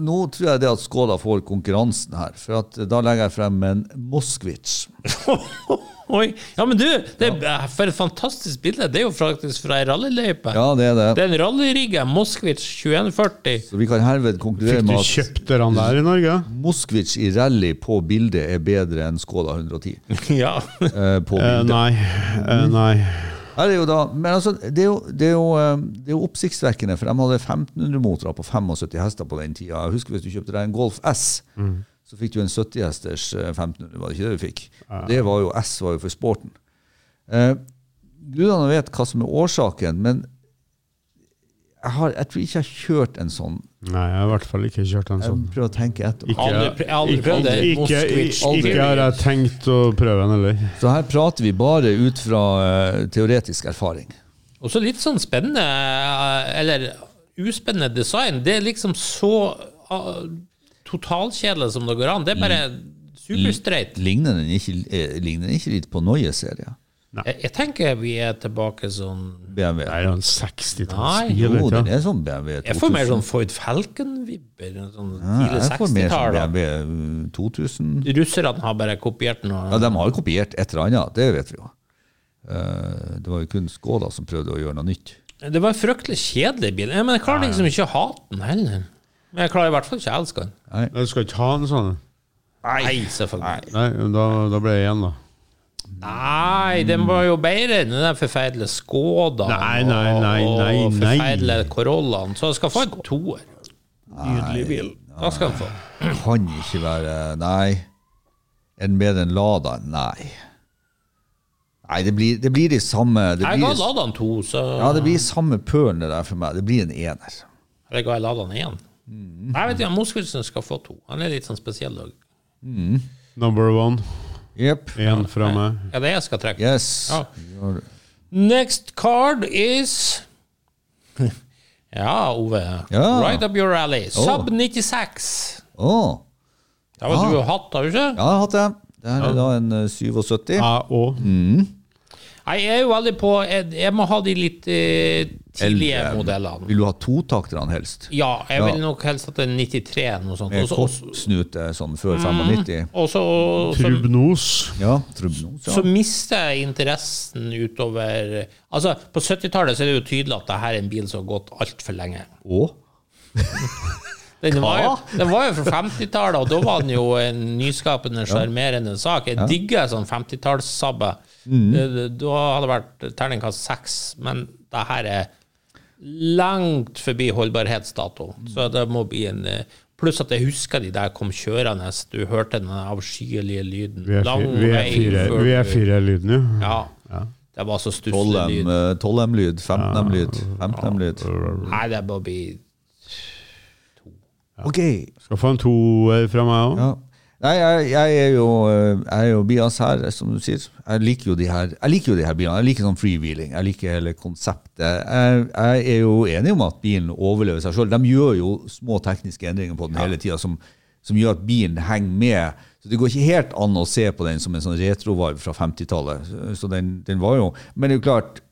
S3: nå tror jeg det at Skoda får konkurransen her. For at, da legger jeg frem en Moskvitsj.
S1: Oi. Ja, men du, det er for et fantastisk bilde. Det er jo faktisk fra ei rallyløype.
S3: Ja, det er
S1: Det
S3: det.
S1: er en rallyrigge, Moskvitsj 2140.
S3: [laughs] Så vi kan herved konkludere
S4: Fikk du
S3: med at
S4: kjøpt den der i Norge?
S3: Moskvitsj i rally på bildet er bedre enn Skoda 110.
S1: ja.
S3: eh, på
S4: Eh,
S3: bildet.
S4: nei. Eh, nei.
S3: Ja, det er jo da, men altså, det er jo, det er jo, eh, det er jo oppsiktsvekkende, for de hadde 1500 motorer på 75 hester på den tida. Jeg husker hvis du kjøpte deg en Golf S,
S4: Mm.
S3: så fikk du en 70-hesters eh, 1500, var det ikke det du fikk? Det var jo S var jo for sporten. Eh, Gudene vet hva som er årsaken, men jeg, har, jeg tror ikke jeg har kjørt en sånn.
S4: nei, jeg har i hvert fall ikke kjørt en sånn.
S3: Jeg prøver å tenke etter.
S1: Jeg har aldri pr- jeg har aldri
S4: ikke-
S1: prøvd det.
S4: ikke-
S1: Moskvitsj.
S4: ikke- Ikke har jeg tenkt å prøve den heller.
S3: Så her prater vi bare ut fra eh, teoretisk erfaring.
S1: Og så litt sånn spennende, eh, eller uspennende design. Det er liksom så ah, totalkjedelig som det går an. Det er bare superstreit.
S3: Ligner den ikke, eh, ligner den ikke litt på Noie-serien?
S1: Jeg, jeg tenker vi er tilbake sånn
S3: BMW?
S4: Det er jo en
S1: Nei,
S4: 60-tallsbil.
S3: Jo,
S4: vet
S3: den
S4: du.
S3: er sånn BMW 2000.
S1: Jeg får mer sånn Ford Falcon-vibber. Sånn tidlig
S3: Jeg får mer sånn
S1: 60-tall. da.
S3: BMW 2000.
S1: Russerne har bare kopiert den.
S3: Ja,
S1: Og,
S3: de har jo kopiert et eller annet, det vet vi jo. Eh, Det var jo kun Skoda som prøvde å gjøre noe nytt.
S1: det var en fryktelig kjedelig bil. Ja, Men jeg klarer liksom ikke å hate den heller. Men jeg klarer i hvert fall ikke å elske den.
S4: Du skal ikke ha en sånn?
S1: Nei, selvfølgelig.
S4: Nei, da, da ble jeg igjen, da.
S1: Nei, den var jo bedre enn den der forferdelige Skodaen
S4: Nei, nei, nei,
S1: og- og
S4: nei, nei.
S1: forferdelige Corollaen. Så jeg skal få en toer. Nydelig bil. Hva skal den få?
S3: Kan ikke være Nei. Er den bedre enn Lada? Nei. Nei, det blir, det blir de samme det
S1: Jeg ga
S3: blir,
S1: Ladaen to, så
S3: Ja, det blir samme pølen det der for meg. Det blir en ener.
S1: Eller ga jeg Ladaen én?
S3: Mm.
S1: Nei, vet du, Moskvitsen skal få to. Han er litt sånn spesiell. også.
S4: Number one.
S3: Jepp.
S4: Én fra meg.
S1: Ja, det er jeg skal trekke.
S3: Yes.
S1: Ja. Next card is [laughs] Ja, Ove.
S3: Ja.
S1: Right up your alley. Sub 96.
S3: Å.
S1: Det var
S3: Ah.
S1: du og hatt, har du ikke?
S3: Ja, jeg har hatt det. Det her er da en eh, 77.
S4: Jeg òg.
S3: Mm.
S1: Nei, jeg er jo veldig på Jeg, jeg må ha de litt eh, tidlige
S3: Eldre.
S1: modellene.
S3: Vil du ha totakterne helst?
S1: Ja, jeg
S3: Ja.
S1: vil nok helst at det er 93 noe sånt.
S3: Med
S1: Og så-
S3: kortsnute sånn
S1: Mm.
S3: før 95.
S1: Og så så-
S4: Trubnos.
S3: Ja, Trubnos, ja.
S1: så mister jeg interessen utover Altså, på 70-tallet så er det jo tydelig at det her er en bil som har gått altfor lenge.
S3: Og?
S1: Den var, jo, den var jo fra 50-tallet, og da var den jo en nyskapende, sjarmerende sak. Jeg digger sånn 50-tallssabbe.
S4: Mm.
S1: Eh, Da hadde det vært terningkast seks, men det her er langt forbi holdbarhetsdato. Så det må bli en eh, Pluss at jeg husker de der kom kjørende, du hørte den avskyelige lyden.
S4: Vi er
S1: Lang
S4: fi- vi er
S1: vei
S4: fire-
S1: før
S4: vi er
S1: du-
S4: firelyden, jo.
S1: Ja. Det var så stusslig lyd.
S3: eh, 12M-lyd, 15M-lyd, 15M-lyd.
S1: Nei, det må bli
S3: Ok.
S4: Skal få en toer fra meg òg.
S3: Ja. Nei, jeg, jeg er jo eh, Jeg er jo bias her, som du sier. Jeg liker jo de her Jeg liker jo de her bilene. Jeg liker sånn freewheeling. Jeg liker hele konseptet. Jeg, jeg er jo enig om at bilen overlever seg sjøl. De gjør jo små tekniske endringer på den hele tida som, som gjør at bilen henger med. Så Det går ikke helt an å se på den som en sånn retrovarv fra 50-tallet. Så- Så den, den var jo Men det er jo klart,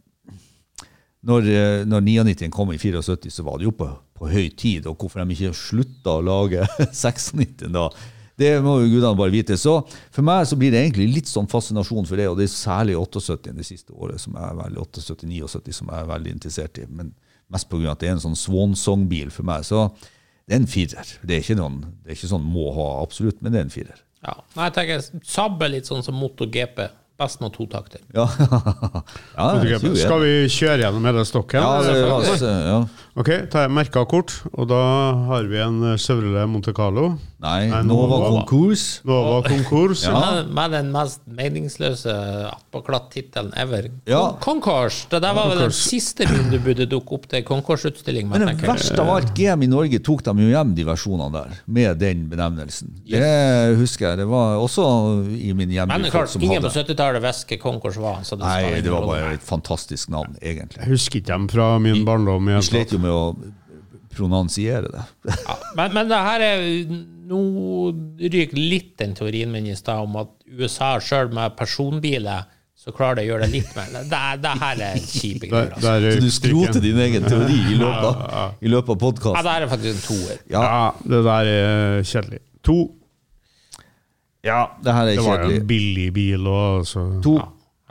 S3: når, eh, når 99 kom i 74, så var det jo på, på høy tid. Og hvorfor de ikke slutta å lage [laughs] 96 da, det må jo gudene bare vite. Så for meg så blir det egentlig litt sånn fascinasjon for det, og det er særlig 78 det siste året, som jeg er veldig, 78, 79, som jeg er veldig interessert i. Men mest pga. at det er en sånn swansong-bil for meg. Så det er en firer. Det er ikke, noen, det er ikke sånn må ha, absolutt, men det er en firer.
S1: Ja. Nei, jeg tenker Saab er litt sånn som MotoGP. Best med to takter.
S3: Ja, ja jeg er ikke uenig.
S4: Skal vi kjøre gjennom hele stokken?
S3: ja,
S4: eller?
S3: det- ja,
S4: Ok, tar jeg merka kort, og da har vi en eh, Chevrolet Monte Carlo.
S3: Nei,
S4: Nei,
S3: Nova
S4: Nova.
S3: konkurs.
S4: Nova konkurs.
S3: Ja.
S1: Med, med den mest meningsløse attpåklatt-tittelen ever.
S3: Ja.
S1: Con- Concourse! Det der var vel den siste bilen du burde dukke opp til Concourse-utstilling med,
S3: Men det
S1: tenker jeg.
S3: verste av alt, GM i Norge tok dem jo hjem, de versjonene der, med den benevnelsen. Det husker jeg. Det var også i min
S1: Men
S3: hjemby
S1: det er
S3: folk
S1: klart,
S3: som
S1: ingen på
S3: hadde
S1: 70-tallet visste hva Concourse var. Så det skal
S3: Nei,
S1: ingen
S3: det var
S1: rolle.
S3: bare et fantastisk navn, egentlig.
S4: Jeg husker ikke dem fra min barndom.
S3: Vi slet jo med å prononsiere det.
S1: Ja, men, men det her er Nå ryker litt den teorien min i stad om at USA sjøl med personbiler så klarer de å gjøre det litt mer. Det, det her er kjipe greier. Altså.
S3: [laughs] Så du skroter din egen teori i løpet av, i løpet av
S1: Ja,
S3: podkasten.
S1: det her er faktisk en toer.
S4: Ja, det der er kjedelig. To.
S3: Ja, det her er
S4: Det var jo
S3: kjedelig.
S4: en billig bil òg, altså.
S3: To.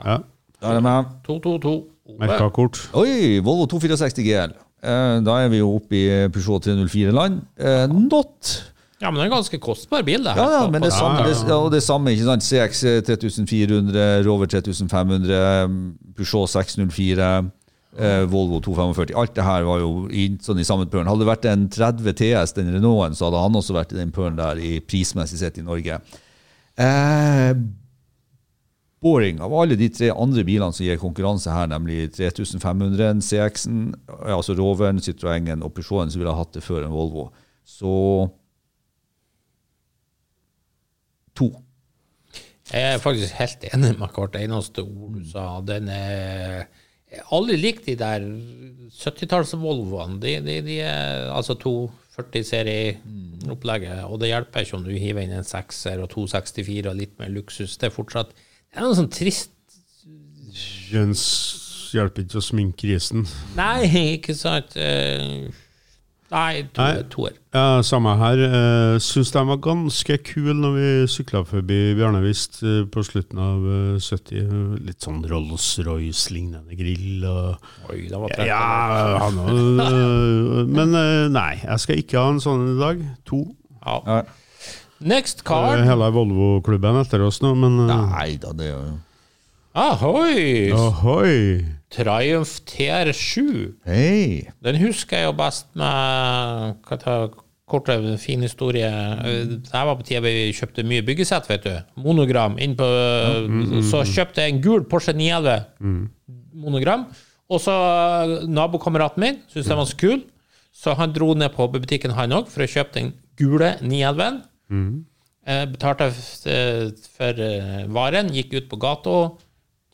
S4: Ja.
S3: Da er det meg.
S1: 222.
S4: Merka kort.
S3: Oi, Volvo 264 GL. Eh, Da er vi jo oppe i Peugeot 304-land. Eh, Not
S1: Ja, men det er en ganske kostbar bil, det her.
S3: Ja, ja,
S1: på-
S3: men
S1: på
S3: det samme,
S4: ja,
S3: det,
S4: ja.
S3: ja, og det samme, ikke sant. CX 3400, Rover 3500, Peugeot 604, eh, Volvo 245. Alt det her var jo i, sånn i samme pølen. Hadde det vært en 30 TS, den Renaulten, så hadde han også vært i den pølen der i prismessig sett i Norge. Eh, Boring av alle de tre andre bilene som gir konkurranse her, nemlig 3500-en, CX-en, altså Roveren, Citroën-en og Peugeot-en, som ville ha hatt det før en Volvo. Så to.
S1: Jeg er faktisk helt enig med hvert eneste ord du sa. Den er jeg har aldri likt de der 70-talls-Volvoene. De, de, de er altså
S4: Mm.
S1: 240-serieopplegget, og det hjelper ikke om du hiver inn en sekser og 264 og litt mer luksus. Det er fortsatt det er noe sånn trist
S4: Jens hjelper ikke å sminke grisen.
S1: Nei, ikke sant? Eh, Nei, to-
S4: Nei.
S1: toer.
S4: Ja, samme her. Uh, Syns de var ganske kule når vi sykla forbi Bjarnevist eh, på slutten av eh, 70. Litt sånn Rolls-Royce-lignende grill. og...
S1: Oi, det var trett.
S4: Ja, han også, øh, Men øh, nei, jeg skal ikke ha en sånn i dag. To.
S1: Ja.
S3: Ja.
S1: Next
S4: Øh,
S1: card.
S4: Hele Volvo-klubben etter oss nå, men øh,
S3: Nei da, det er jo
S1: Ahoy!
S4: Ohoi!
S1: Triumph TR7.
S3: 哎 Hei!
S1: Den husker jeg jo best med hva ta, kort og fin historie. Eh, Jeg var på tida vi kjøpte mye byggesett, vet du. Monogram. Inn på, så kjøpte jeg en gul Porsche 911 monogram. Og så eh, nabokameraten min syntes den var så kul, så han dro ned på butikken han òg for å kjøpe den gule 911-en. Eh, betalte f- eh, for eh, varen, gikk ut på gata,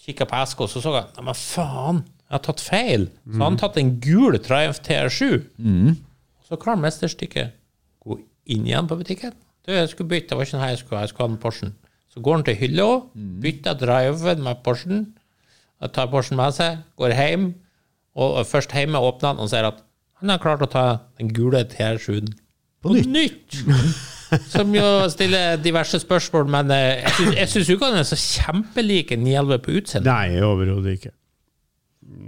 S1: kikka på eska, og så så jeg Nei, men faen, jeg har tatt feil. Så han tatt en gul Triumph TR7. Så klarer mesterstykket gå inn igjen på butikken. Du, jeg skulle bytte, det var ikke den her jeg skulle ha, jeg skulle ha den Porschen. Så går han til hylla, bytter Triumphen med Porschen, og tar Porschen med seg, går hjem, og og først hjemme åpner han og ser at han har klart å ta den gule TR7-en på nytt. Som jo stiller diverse spørsmål, men eh, jeg syns- jeg syns jo ikke han er så kjempelik en 911 på utseendet.
S4: Nei, overhodet ikke.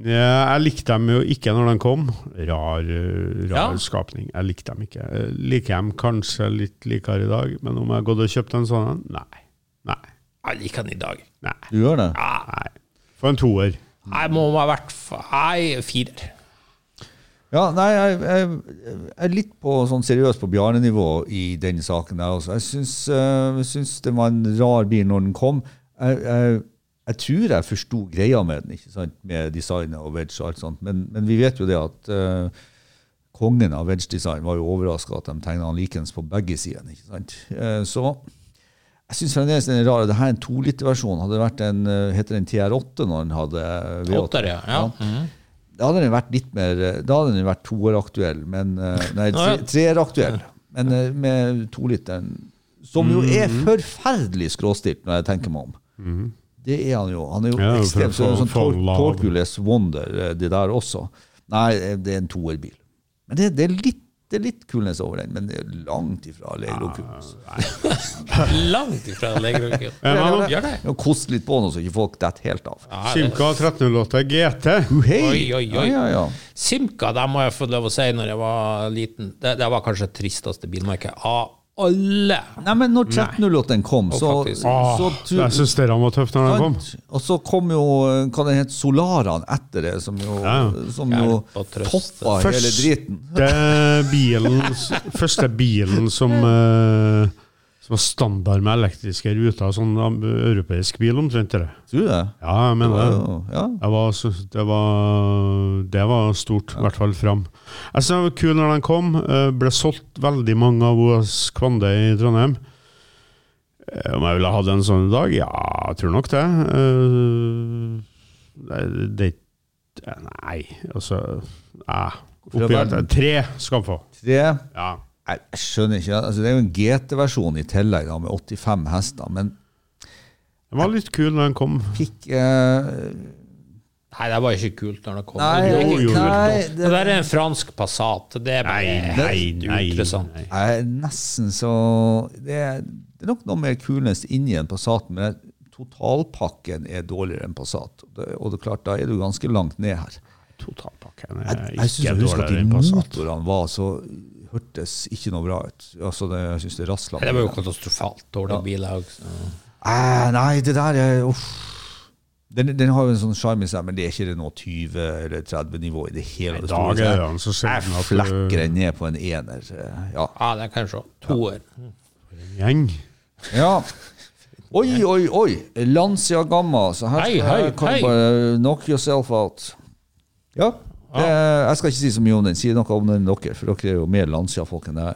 S4: Ja, jeg likte dem jo ikke når de kom. Rar, øh, rar
S1: Ja.
S4: skapning. Jeg likte dem ikke. Jeg liker dem kanskje litt likere i dag, men om jeg hadde gått og kjøpt en sånn en? Nei. Nei.
S1: Jeg liker han i dag.
S4: Nei.
S3: Du gjør det?
S1: Ah.
S4: Nei. For en toer.
S1: Jeg må ha vært f- Nei, firer.
S3: Ja, nei, jeg, jeg, jeg er litt på, sånn seriøst på Bjarne-nivå i den saken der. Også. Jeg syns, eh, jeg syns det var en rar bil når den kom. Jeg, jeg, jeg tror jeg forsto greia med den, ikke sant? med designet og wedge og alt sånt, men, men vi vet jo det at eh, kongen av wedge design var jo overraska at de tegna han likens på begge sidene. ikke sant? Eh, så jeg syns fremdeles den er rar. Det her er en toliterversjon. Hadde det vært en, eh, heter den TR8 når den hadde V8?
S1: Åtter, ja. ja. Mhm.
S3: Da hadde den vært litt mer eh, Da hadde den vært toeraktuell, men eh, Nei,
S1: Ja.
S3: tre- treeraktuell. Men eh, med toliteren, som jo er forferdelig skråstilt, når jeg tenker meg om. Det er han jo. Han er jo
S4: Ja, for
S3: ekstremt
S4: å
S3: sånn,
S4: få-
S3: sånn tor
S4: få lav.
S3: tortureless wonder, eh, det der også. Nei, eh, det er en toerbil. Men det, det er litt det er litt coolness over den, men det er langt ifra Leilo Kunos. [laughs]
S1: Langt ifra legerokken.
S4: men-
S1: Gjør det.
S3: Kost litt på den, så ikke folk detter helt av.
S4: Simca 1308 GT.
S3: Hei!
S1: Ah, Oi, oi,
S3: Ja,
S1: oi.
S3: ja, ja.
S1: Simca, det må jeg få lov å si når jeg var liten. Det, det var kanskje det tristeste bilmerket. av alle.
S3: Nei, men når 1308 kom, så,
S1: faktisk.
S4: Ah,
S3: så tu-
S4: jeg syns dere var tøffe
S1: Sånn
S4: når de kom.
S3: sant? Og så kom jo eh, hva det het, Solaraen etter det, som jo,
S4: Ja.
S3: som jo
S1: Hjelp og trøst.
S3: toppa hele
S4: Først-
S3: driten.
S4: Det er bilen, s- første bilen som, eh, som var standard med elektriske ruter, sånn am- europeisk bil omtrent. det.
S3: Tror du det?
S4: Ja, jeg mener det.
S3: Ja, ja.
S4: Jeg var, så- det, var, det var stort, i hvert fall fram. Jeg synes det var kul når den kom. eh, Ble solgt veldig mange av OS Kvande i Trondheim. Eh, Om jeg ville hatt en sånn i dag? Ja, jeg tror nok det. Eh, det- det Nei, altså eh, oppi
S3: Fra verden.
S4: alt- Tre skal han få.
S3: Tre.
S4: Ja.
S3: Nei, Jeg skjønner ikke. Altså, det er jo en GT-versjon i tillegg, da, med 85 hester. Men
S4: Den var litt kul når den kom.
S3: pikk eh,
S1: Nei, det var ikke kult når det kom.
S3: Nei,
S1: det,
S4: jo, jo, jo.
S3: nei,
S1: det
S3: det,
S1: der er en fransk Passat. Det er bare interessant.
S3: jeg er nesten så det er, det er nok noe mer coolness inni en Passat, men totalpakken er dårligere enn Passat. Og det, og det er klart, da er du ganske langt ned her.
S4: Totalpakken
S3: Jeg,
S4: er
S3: jeg synes
S4: ikke
S3: jeg husker at
S4: dårligere
S3: de
S4: enn Passat.
S3: motorene var så hørtes ikke noe bra ut. Altså, det, jeg synes det rasla.
S1: Det var jo katastrofalt dårlig bil. jeg også.
S3: Eh, nei, det der er uff. Den, den har jo en sånn sjarm i seg, men det er ikke det noe 20- eller 30-nivå i det hele
S4: I
S3: det
S4: dag
S3: store.
S4: er det så sjelden
S3: Jeg
S4: at
S3: flekker
S4: du
S3: den ned på en ener. eh, Ja.
S1: Ja, det kan jeg se. Toer.
S4: gjeng.
S3: ja. Oi, oi, oi! Lancia Gamma. Så her
S1: Hei,
S3: skal
S1: hei,
S3: jeg- kan
S1: hei.
S3: du bare knock yourself out. Ja. Det, jeg skal ikke si så mye om den. Si noe om den dere, for dere er jo mer Lancia-folk enn jeg er.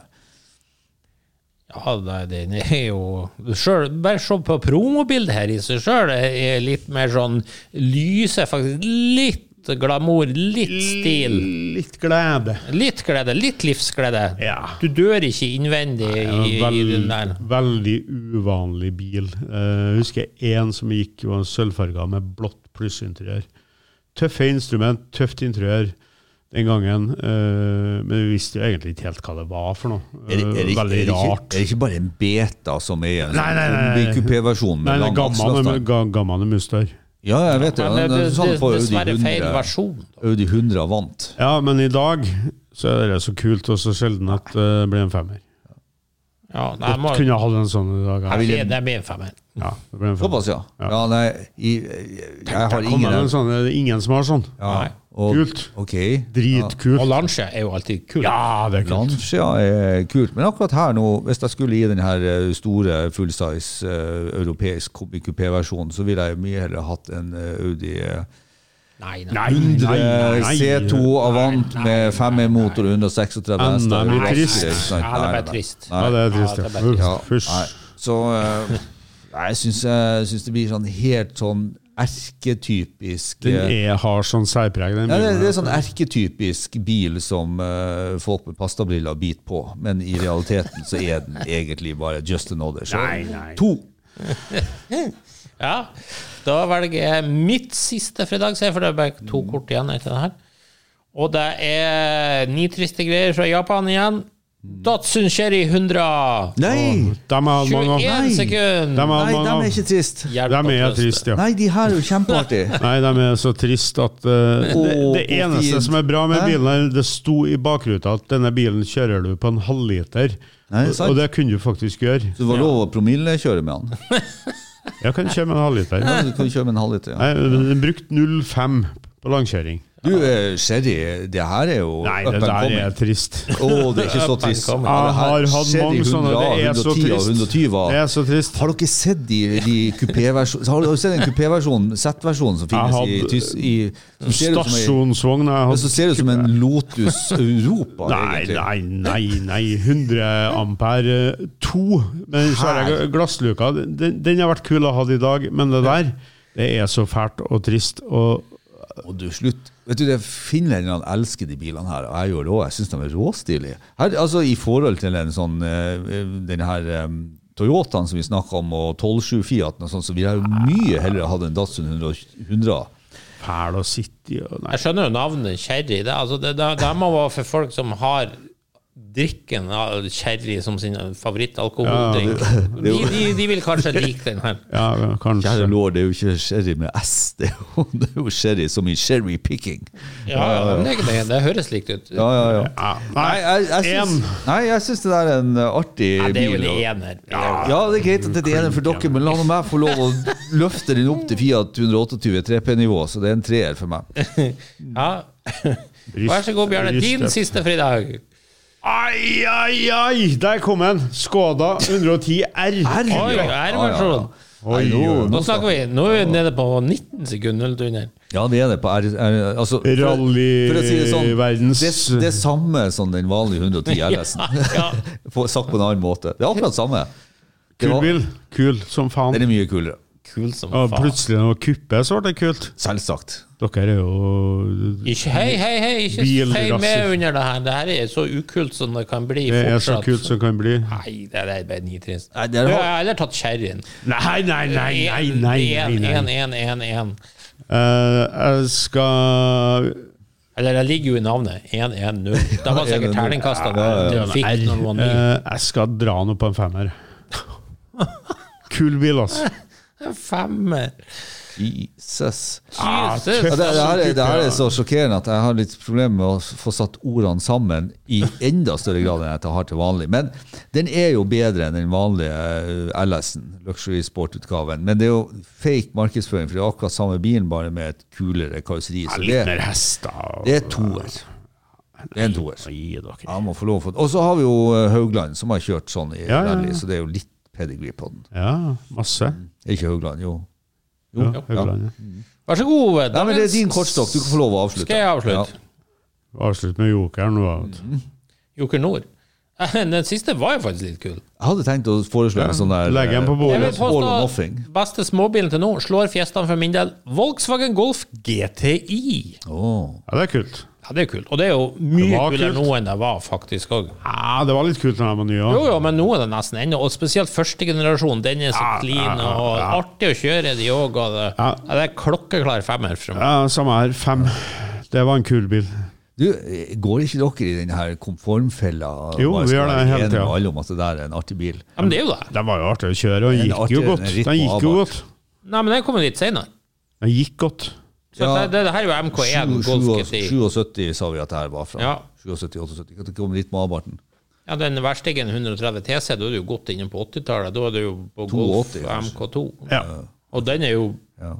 S1: Ja, nei, den er jo selv, Bare se på promobildet her i seg sjøl. Er litt mer sånn lyse, faktisk. Litt glamour, litt stil.
S4: Litt glede.
S1: Litt glede, litt livsglede.
S4: Ja.
S1: Du dør ikke innvendig i, i
S4: Veld,
S1: den der.
S4: veldig uvanlig bil. Eh, jeg husker en som gikk var sølvfarga med blått plussinteriør. Tøffe instrument, tøft interiør den gangen. eh, men vi visste jo egentlig ikke helt hva det var for noe.
S3: Er det, er, det,
S4: Eh,
S3: ikke- er, det
S4: veldig
S3: ikke,
S4: rart.
S3: er det ikke bare en beta som er en
S4: Nei, nei, nei, nei.
S3: coupé-versjon
S4: Nei,
S3: med
S4: det
S3: lang
S4: er gammel,
S3: akselavstand?
S4: men ga- gammel Mustang.
S3: Ja, jeg vet det.
S1: Men det,
S3: Den-
S1: det,
S3: den
S1: det,
S3: sånn på Audi
S1: dessverre feil
S3: 100.
S1: versjon.
S3: Audi 100 vant.
S4: Ja, men i dag så er det så kult og så sjelden at eh, det blir en femmer.
S1: Ja, nei,
S4: Jeg
S1: må,
S4: kunne jeg hatt en sånn i dag.
S1: jeg
S4: Ja,
S1: vil, det blir en femmer.
S4: ja, det ble en femmer.
S3: Såpass, ja. Ja, nei, i, jeg har
S4: Kom med en
S3: ingen
S4: sånn, det er ingen som har sånn.
S3: ja,
S4: Kult.
S3: Ok.
S1: Og
S4: Dritkult.
S1: Lancia er jo alltid kul.
S4: Ja, det er kult.
S3: Lancia er kult, men akkurat her nå, hvis jeg skulle gi den her eh, store fullsize eh, europeisk coupé-versjonen, så ville jeg mye heller hatt en eh, Audi eh,
S1: Nei, nei.
S4: Nei, nei, nei,
S3: eh,
S4: nei.
S3: C2 Avant med 5E-motor og 136
S4: Enda
S3: hester.
S4: mye
S3: Nei,
S4: trist.
S3: ikke sant?
S1: Ja, det er
S3: Nei,
S1: bare
S3: nei.
S1: trist.
S4: Ja, det er trist.
S1: Ja, det er
S4: Ja,
S1: bare
S3: Ja,
S4: Fysj.
S3: nei. Så eh, nei, jeg syns jeg syns det blir sånn helt sånn erketypisk
S4: Den
S3: eh,
S4: er, har sånn særpreg, den
S3: ja, det,
S4: bilen.
S3: det er sånn erketypisk bil som eh, folk med pastabriller biter på, men i realiteten så er den egentlig bare just another. Så
S4: Nei, nei.
S3: to.
S1: Ja, da velger jeg mitt siste fredag, ser jeg, for det er bare to kort igjen etter det her. Og det er ni triste greier fra Japan igjen.
S4: Mm.
S1: Datsun Cherry 100.
S3: Nei!
S4: De har mange
S1: 21
S4: av. De
S1: sekunder.
S3: Nei,
S4: har mange
S3: de er
S4: av.
S3: ikke trist.
S1: Hjelp
S4: De
S1: og
S4: er
S1: trøste.
S4: trist, ja.
S3: Nei, de her er jo
S1: [laughs]
S3: kjempeartige.
S4: Nei, de er så trist at eh,
S3: Åh,
S4: det, det
S3: hvor
S4: eneste
S3: fint.
S4: som er bra med
S3: Hæ?
S4: bilen, er det sto i bakruta at denne bilen kjører du på en halvliter.
S3: Nei,
S4: Og-
S3: sant.
S4: Og det kunne du faktisk gjøre.
S3: Så det var lov å promillekjøre med han.
S4: Jeg kan kjøre med en halvliter.
S3: Ja, du kan kjøre med en halvliter. Ja.
S4: Nei, den brukte 0,5 på langkjøring.
S3: Du, eh, Sherry, det her er jo
S4: Nei,
S3: up
S4: det
S3: and
S4: der
S3: coming.
S4: er [laughs] trist.
S3: Å, det er ikke så trist.
S1: Jeg
S3: Ja, det
S4: Jeg
S3: her
S4: har hatt
S3: skjer i
S4: mange sånne.
S3: 100,
S4: Det er
S3: 110
S4: så
S3: og 120
S4: trist.
S3: var-
S4: Det er så trist.
S3: Har dere sett de, de kupéversjon- Har dere sett den kupéversjonen, Z-versjonen, som finnes i,
S4: Jeg hadde-
S3: Tys- i som ser ut som ei-
S4: Stasjonsvogn har jeg
S3: Men så ser det ut som en Lotus Europa,
S4: Nei,
S3: egentlig.
S4: nei, nei, nei. 100 ampere 2. Men så har jeg glassluka. Den, den har vært kul å ha i dag, men det der det er så fælt og trist. Og
S3: Og du, slutt. Vet du, det Finlenderne elsker de bilene her, og jeg gjør det òg. Jeg syns de er råstilige. Her, altså, I forhold til en sånn, eh, den her eh, Toyotaen som vi snakka om, og 127 Fiaten og sånn, så ville jeg jo mye heller hatt en Datsun 100.
S4: fæl å sitte i og nei.
S1: Jeg skjønner jo navnet Cherry. Det, altså, det, det, det må være for folk som har drikken av sherry som sin
S4: Ja,
S1: favorittalkoholdrikk. de,
S3: det- det-
S1: de, de vil kanskje like den
S4: [laughs]
S1: her.
S4: Ja, ja, kanskje.
S3: Kjære lord, det er jo ikke sherry med S, [laughs] det er jo, det er jo sherry som i sherry picking.
S1: Ja, men Det, er ikke det, det høres likt ut.
S3: Ja, ja, ja.
S4: Ja,
S3: Nei, jeg, jeg,
S4: en.
S3: syns, nei, jeg syns det der er en uh, artig
S1: Nei, det er jo
S3: bil.
S1: en
S3: og-
S1: ener. Det er jo-
S3: Ja, det er greit at det er en for dere, men la nå meg få lov å løfte den opp til Fiat 128 3P-nivå, så det er en treer for meg.
S1: Ja. Vær så god, Bjarne.
S4: Rist-
S1: Din
S4: rist-
S1: siste fridag.
S4: Ai, ai, ai! Der kom den! Skoda 110 R.
S1: Oi, R-versjon.
S3: Nei, nå-
S1: Nå
S3: nå
S1: snakker vi. Nå er vi nede på 19 sekunder eller under.
S3: Ja, vi er det på R... R altså, for-
S4: Rally-
S3: for å si det sånn,
S4: verdens-
S3: Det, det er samme som den vanlige 110 RS-en.
S1: [laughs] Ja.
S3: På- Sagt på en annen måte. Det er akkurat samme. Det
S4: Kul
S3: var-
S4: bil. Kul som faen.
S3: Den er mye kulere.
S1: Kul som
S4: Ja,
S1: faen.
S4: plutselig når det kuppet, så ble det kult.
S3: Selvsagt.
S4: Dere er jo
S1: Ikke, hei, hei, hei, ikke feil
S4: Bilrasser.
S1: med under det her. Det her er så ukult som det kan bli.
S4: Det er så
S1: fortsatt.
S4: kult som kan bli.
S1: Nei, det er bare nitrist.
S3: Nei,
S1: Du
S3: det er-
S1: har heller tatt sherryen.
S4: Nei, nei, nei, nei, nei, nei, nei.
S1: 1-1-1-1.
S4: Eh, jeg skal
S1: Eller det ligger jo i navnet. 1-1-0. Da
S3: [laughs]
S1: var sikkert
S3: 1-1-0.
S1: terningkasta
S3: Ja,
S1: du fikk når du var ny.
S4: eh, Jeg skal dra noe på en
S1: [laughs]
S4: femmer. Kul bil, ass.
S1: Femmer.
S3: Jesus. Ja,
S4: Ah,
S1: Jesus.
S3: det, det, her er, det her er så sjokkerende at jeg har litt problemer med å s- få satt ordene sammen i enda større grad enn jeg har til vanlig. Men den er jo bedre enn den vanlige eh, LS-en, luxury sport-utgaven. Men det er jo fake markedsføring, for det er akkurat samme bilen, bare med et kulere karosseri. Så
S4: Litt
S3: det,
S4: mer hester. og-
S3: det er toer. Det er en toer.
S4: Gi dere.
S3: Jeg må få lov å få Og så har vi jo eh, Haugland, som har kjørt sånn i
S4: Ja, ja, ja.
S3: rally, så det er jo litt pedigree på den.
S4: Ja, masse.
S3: Er ikke Haugland, jo.
S4: Ja,
S3: Mm. Jo, ja.
S4: Haugland, ja.
S1: Vær så god. eh,
S3: Nei, men det er din kortstokk. Du kan få lov å avslutte.
S1: Skal jeg avslutte?
S4: Avslutt med jokeren nå. vet
S3: Mm.
S4: du.
S1: Joker Nord. [laughs] Den siste var jo faktisk litt kul.
S3: Jeg hadde tenkt å foreslå en sånn der
S4: Legg den på
S1: Jeg
S4: bordet.
S1: vil
S3: All
S1: påstå
S3: or nothing.
S1: beste småbilen til nå slår Fiestaen for min del. Volkswagen Golf GTI.
S3: Åh.
S4: Ja, det er kult.
S1: Ja, det er kult. Og det er jo mye
S4: var
S1: kulere
S4: kult.
S1: nå enn det var, faktisk òg.
S4: Ja, det var litt kult når jeg var ny
S1: Jo,
S4: òg.
S1: jo, men nå er det nesten ennå. Og spesielt første generasjon. Den er så
S4: Ja, ja,
S1: clean
S4: ja,
S1: og
S4: ja.
S1: artig å kjøre, de òg. Og det, ja.
S4: Ja.
S1: det er klokkeklar femmer. Fra. meg.
S4: Ja, samme her. Fem. Det var en kul bil.
S3: Du, eh, går ikke dere i den her konformfella?
S4: Jo,
S3: Bare
S4: vi
S3: skal
S4: gjør det
S3: være
S4: hele
S3: enige
S4: tiden.
S3: med alle om at det der er en artig bil.
S1: Ja, men det er jo det.
S4: Den var jo artig å kjøre, og den
S3: Den er
S4: gikk jo
S3: artig,
S4: godt.
S3: den er
S4: Den
S3: litt
S4: gikk jo
S3: avart.
S4: godt.
S1: Nei, men jeg kommer dit senere.
S4: Den gikk godt.
S1: Så
S3: Ja.
S1: det, det, det her er jo MK1
S3: Sju-
S1: Golf
S3: sju-
S1: GTI.
S3: 77 sa vi at det her var fra.
S1: Ja.
S3: 77-78. Kan du komme dit med abarten?
S1: Ja, den verstigen 130 TC, da er du jo godt inne på 80-tallet. Da er du jo på
S3: 82,
S1: Golf
S3: kanskje.
S1: MK2.
S4: Ja.
S1: Og den er jo
S3: Ja.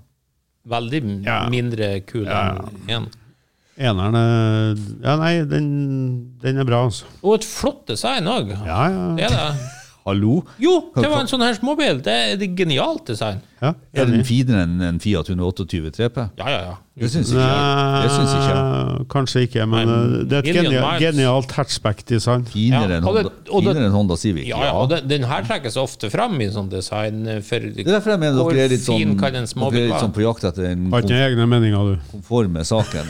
S1: veldig m-
S4: Ja.
S1: mindre kul enn en.
S4: Eneren er Ja, nei, den, den er bra, altså.
S1: Og et flott design òg.
S4: Ja, ja.
S1: Det er det.
S3: Hallo?
S1: Jo, det var en sånn her småbil. Det er et genialt design.
S4: ja.
S3: Er den finere enn en Fiat 128 3P?
S1: Ja, ja, ja.
S3: Det syns ikke jeg. Det syns ikke jeg.
S4: Nei, eh, Kanskje ikke, men
S1: Nei,
S4: eh, det er et
S1: million
S4: genialt,
S1: miles.
S4: genialt hatchback-design.
S1: Ja,
S3: Finere enn
S1: og det-
S3: Honda,
S1: og det-
S3: finere enn Honda Civic.
S1: Ja, ja, og den, den her trekkes ofte fram i sånn design. eh, For det
S3: Det er derfor jeg mener dere er litt sånn,
S1: Hvor fin kan en
S3: dere
S1: småbil
S3: er litt sånn
S1: være?
S3: på jakt etter den
S4: Har ikke noen egne meninger, du.
S3: konforme saken.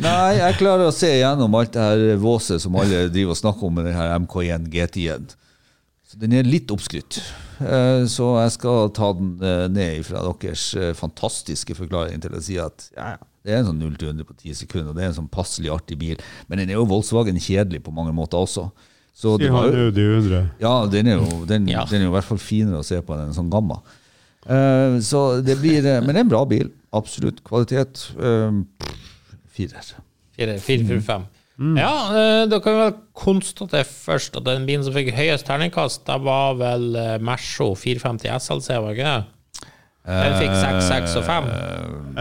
S3: Nei, jeg klarer å se igjennom alt det her våset som alle driver og snakker om med den her MK1 GT1. Så den er litt oppskrytt. Eh, Så jeg skal ta den eh, ned fra deres eh, fantastiske forklaring til å si at ja, ja, det er en sånn 0-100 på 10 sekunder, og det er en sånn passelig artig bil. Men den er jo Volkswagen kjedelig på mange måter også. Så det
S4: De
S3: var
S4: har
S3: jo
S4: Audi 100.
S3: ja, den er jo, den,
S1: Ja.
S3: den er jo i hvert fall finere å se på enn en sånn gamma. Eh, så det blir eh, Men det er en bra bil. Absolutt. Kvalitet. Uh, firer.
S1: Fire, fire, fire, fem. Ja, eh, da kan vi vel konstatere først at den bilen som fikk høyest terningkast, det var vel eh, Merso 450 SLC, altså, var ikke det? Den fikk 6, 6 og 5.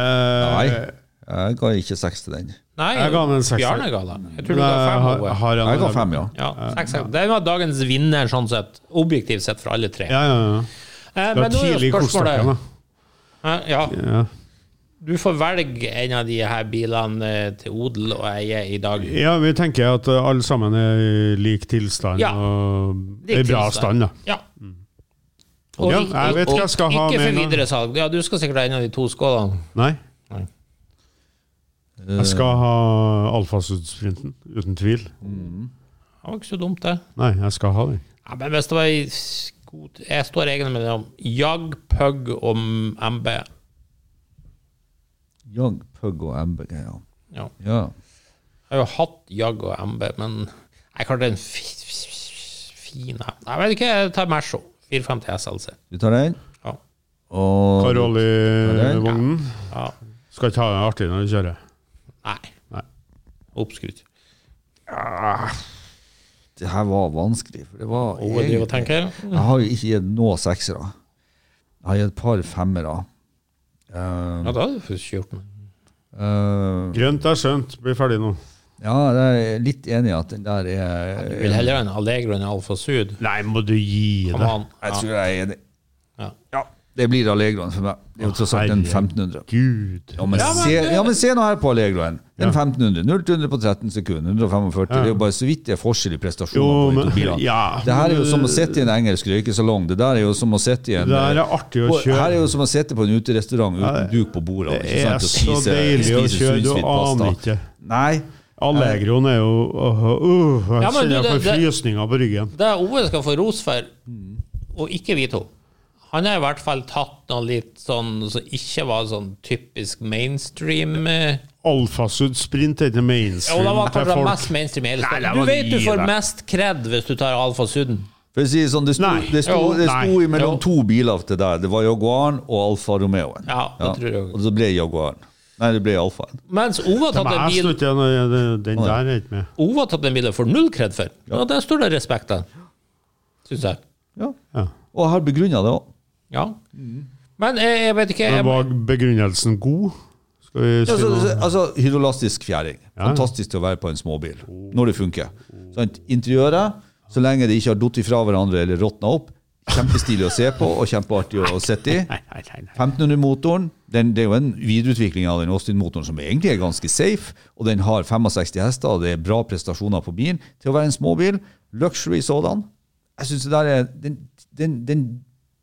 S4: Eh,
S3: Nei, jeg ga ikke seks til den.
S1: Nei,
S4: jeg ga den en sekser.
S1: Bjarne ga den. Jeg tror du
S4: Nei,
S1: ga fem
S4: har,
S1: over.
S4: har
S3: Jeg ga fem, ja.
S1: Ja, seks, seks. Den var dagens vinner, sånn sett. Objektivt sett for alle tre.
S4: Ja, ja, ja.
S1: Eh,
S4: Det var
S1: Men nå er
S4: tidlig i
S1: jo
S4: kortstokken,
S1: spørsmålet
S4: da.
S1: Eh, Ja,
S4: Ja.
S1: Du får velge en av de her bilene eh, til odel og eie i dag.
S4: ja, vi tenker at eh, alle sammen er i lik tilstand
S1: Ja.
S4: og
S1: Lik
S4: i bra
S1: tilstand.
S4: stand, da.
S1: sånn. Ja.
S4: Ja, jeg vet hva jeg skal ha
S1: ikke
S4: med
S1: for
S4: nå.
S1: videre salg. Ja, du skal sikkert ha en av de to skålene.
S4: Nei.
S1: Nei.
S4: Jeg skal ha alfasudsprinten, uten tvil.
S1: Det var ikke så dumt, det.
S4: Nei, jeg skal ha den.
S1: Ja, men hvis det var i god Jeg står egentlig mellom Jag, Pug og MB.
S3: Young Pug og MBG, ja.
S1: Ja.
S3: ja.
S1: Jeg har jo hatt Jag og MB, men Jeg klarte en fi- fi- fin en. Jeg vet ikke, jeg tar Merso. 450 SLC.
S3: Du tar den,
S1: Ja.
S3: og
S4: Karol i
S3: Ja.
S4: vognen.
S1: ja.
S4: Skal ikke ha det artig når du kjører.
S1: Nei.
S4: Nei.
S1: Oppskrytt.
S3: det her var vanskelig. For det var
S1: Overdriv og tenker.
S3: Jeg har jo ikke gitt noe seksere. Jeg har gitt et par femmere.
S1: Ja, da hadde du faktisk gjort noe.
S3: Eh,
S4: Grønt er skjønt. Blir ferdig nå.
S3: ja, jeg er litt enig i at den der er
S1: Du vil heller ha en Allegro enn en Alfa Sud.
S4: Nei, må du gi
S1: Come
S4: deg.
S1: on.
S3: Jeg tror jeg er enig.
S1: Ja.
S3: Det blir Allegroen for meg. Det er jo tross alt en
S4: Herregud.
S3: 1500.
S4: Gud.
S3: Ja, men,
S1: Ja, men
S3: se,
S1: det-
S3: ja, men se nå her på Allegroen. Den
S4: Ja.
S3: 1500. 0-100 på 13 sekunder. 145. Det er jo bare så vidt det er forskjell i
S4: Jo,
S3: prestasjoner på de
S4: men
S3: to bilene.
S4: ja,
S3: Det her er jo
S4: men-
S3: som å sitte i en engelsk røykesalong. Det der er jo som å sitte i en
S4: Det her er artig å
S3: på-
S4: kjøre.
S3: Her er jo som å sitte på en uterestaurant uten duk på bordet.
S4: Det
S3: ikke
S4: er
S3: sant, og
S4: så
S3: spise-
S4: deilig å
S3: spise
S4: kjøre, du
S3: sunsvidd pasta.
S4: aner ikke.
S3: Nei.
S4: Allegroen er jo åh, åh,
S1: Ja, men
S4: Jeg
S1: du,
S4: kjenner jeg
S1: det-
S4: får
S1: det-
S4: frysninger på ryggen.
S1: Det Ove skal få ros for, og ikke vi to Han har i hvert fall tatt noe litt sånn som ikke var sånn typisk mainstream. eh,
S4: Alfasud sprint er ikke
S1: Ja, og
S4: mainstream
S1: da var
S4: til
S1: kanskje det
S4: folk.
S1: mest mainstream i hele
S4: Nei,
S1: stedet.
S4: det
S1: Du
S4: var
S1: vet du
S4: gi
S1: får
S4: deg.
S1: mest cred hvis du tar Alfa Suden.
S3: For å si det sånn, det sto,
S4: Nei.
S3: det sto,
S1: Jo,
S3: det sto
S4: nei.
S3: imellom
S1: Jo.
S3: to biler til der. Det var Jaguaren og Alfa Romeoen.
S1: Ja, det tror jeg også.
S3: Og så ble Jaguaren. Nei, det ble Alfaen.
S1: Mens Ove har
S4: Nei,
S1: tatt en
S4: jeg
S1: bil
S4: slutter, den, den- eh, den der er ikke med.
S1: Ove har tatt en bil for null cred for. Og der står det respekt av, syns jeg.
S3: Ja.
S4: Ja.
S3: Og jeg har begrunna det òg.
S1: Ja. Men jeg, jeg vet ikke
S4: Mm. Men
S1: jeg,
S4: var begrunnelsen god? Skal vi si
S3: Altså,
S4: noe?
S3: altså, hydrolastisk fjæring. Fantastisk til å være på en småbil. Når det funker. Sant? Interiøret, så lenge det ikke har falt fra hverandre eller råtna opp, kjempestilig å se på og kjempeartig å
S1: [laughs]
S3: sitte i.
S4: Nei, nei, nei, nei.
S3: 1500-motoren den, det er jo en videreutvikling av den Austin-motoren som egentlig er ganske safe, og den har 65 hester, og det er bra prestasjoner på bilen. Til å være en småbil, luxury sådan, jeg synes det der er, den, den, den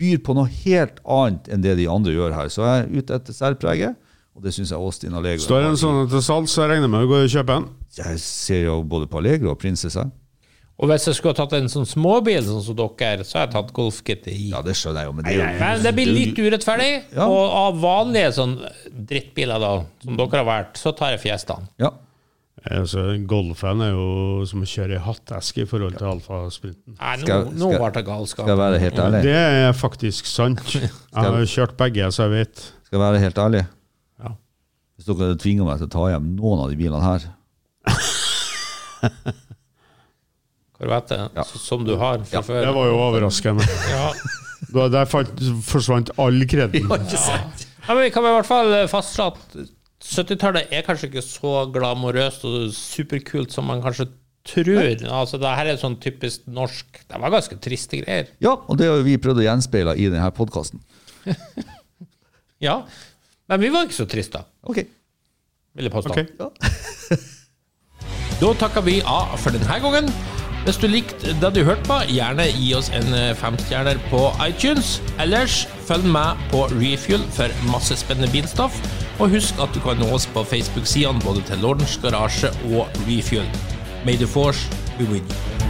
S3: byr på noe helt annet enn det de andre gjør her. Så jeg er ute etter særpreget, og det synes jeg Austin Allegro
S4: Står en
S3: har.
S4: sånn til salgs, så jeg regner med å gå og kjøpe en.
S3: Jeg ser jo både på Allegro og Prinsesse.
S1: Og hvis jeg skulle ha tatt en sånn småbil sånn som dere, så har jeg tatt Golf GTI.
S3: Ja, det skjønner jeg jo, men det er jo
S1: Men det blir litt urettferdig.
S3: Ja.
S1: Og av vanlige sånn drittbiler da, som dere har valgt, så tar jeg Fiestaen.
S3: Ja.
S4: Altså, Golfen er jo som å kjøre i hatteske i forhold til alfasprinten.
S1: Nei, nå,
S3: Skal-
S1: nå
S3: skal-
S1: ble det galskap.
S3: Skal jeg være helt ærlig?
S4: Det er faktisk
S1: [laughs]
S4: sant. Jeg har jo kjørt begge, så jeg vet.
S3: Skal jeg være helt ærlig?
S1: Ja.
S3: Hvis dere hadde tvinga meg til å ta hjem noen av de bilene her
S1: Korvette,
S3: Ja.
S1: s- som du har fra før.
S4: Det var jo overraskende.
S1: [laughs] Ja.
S4: Da, der fant, forsvant all kreden.
S1: Ja, men vi kan i hvert fall eh, fastslå at 70-tallet er kanskje ikke så glamorøst og superkult som man kanskje tror. Altså, det her er sånn typisk norsk. Det var ganske triste greier.
S3: Ja, og det har jo vi prøvd å gjenspeile i denne podkasten.
S1: Ja. Men vi var ikke så triste,
S3: Ok.
S1: vil jeg påstå.
S4: Ok.
S1: Da takker vi av for denne gangen. Hvis du likte det du hørte på, gjerne gi oss en eh, femstjerner på iTunes. Ellers følg med på Refuel for masse spennende bilstoff. Og husk at du kan nå oss på Facebook-sidene både til Lordens Garasje og Refuel. May the force be with you.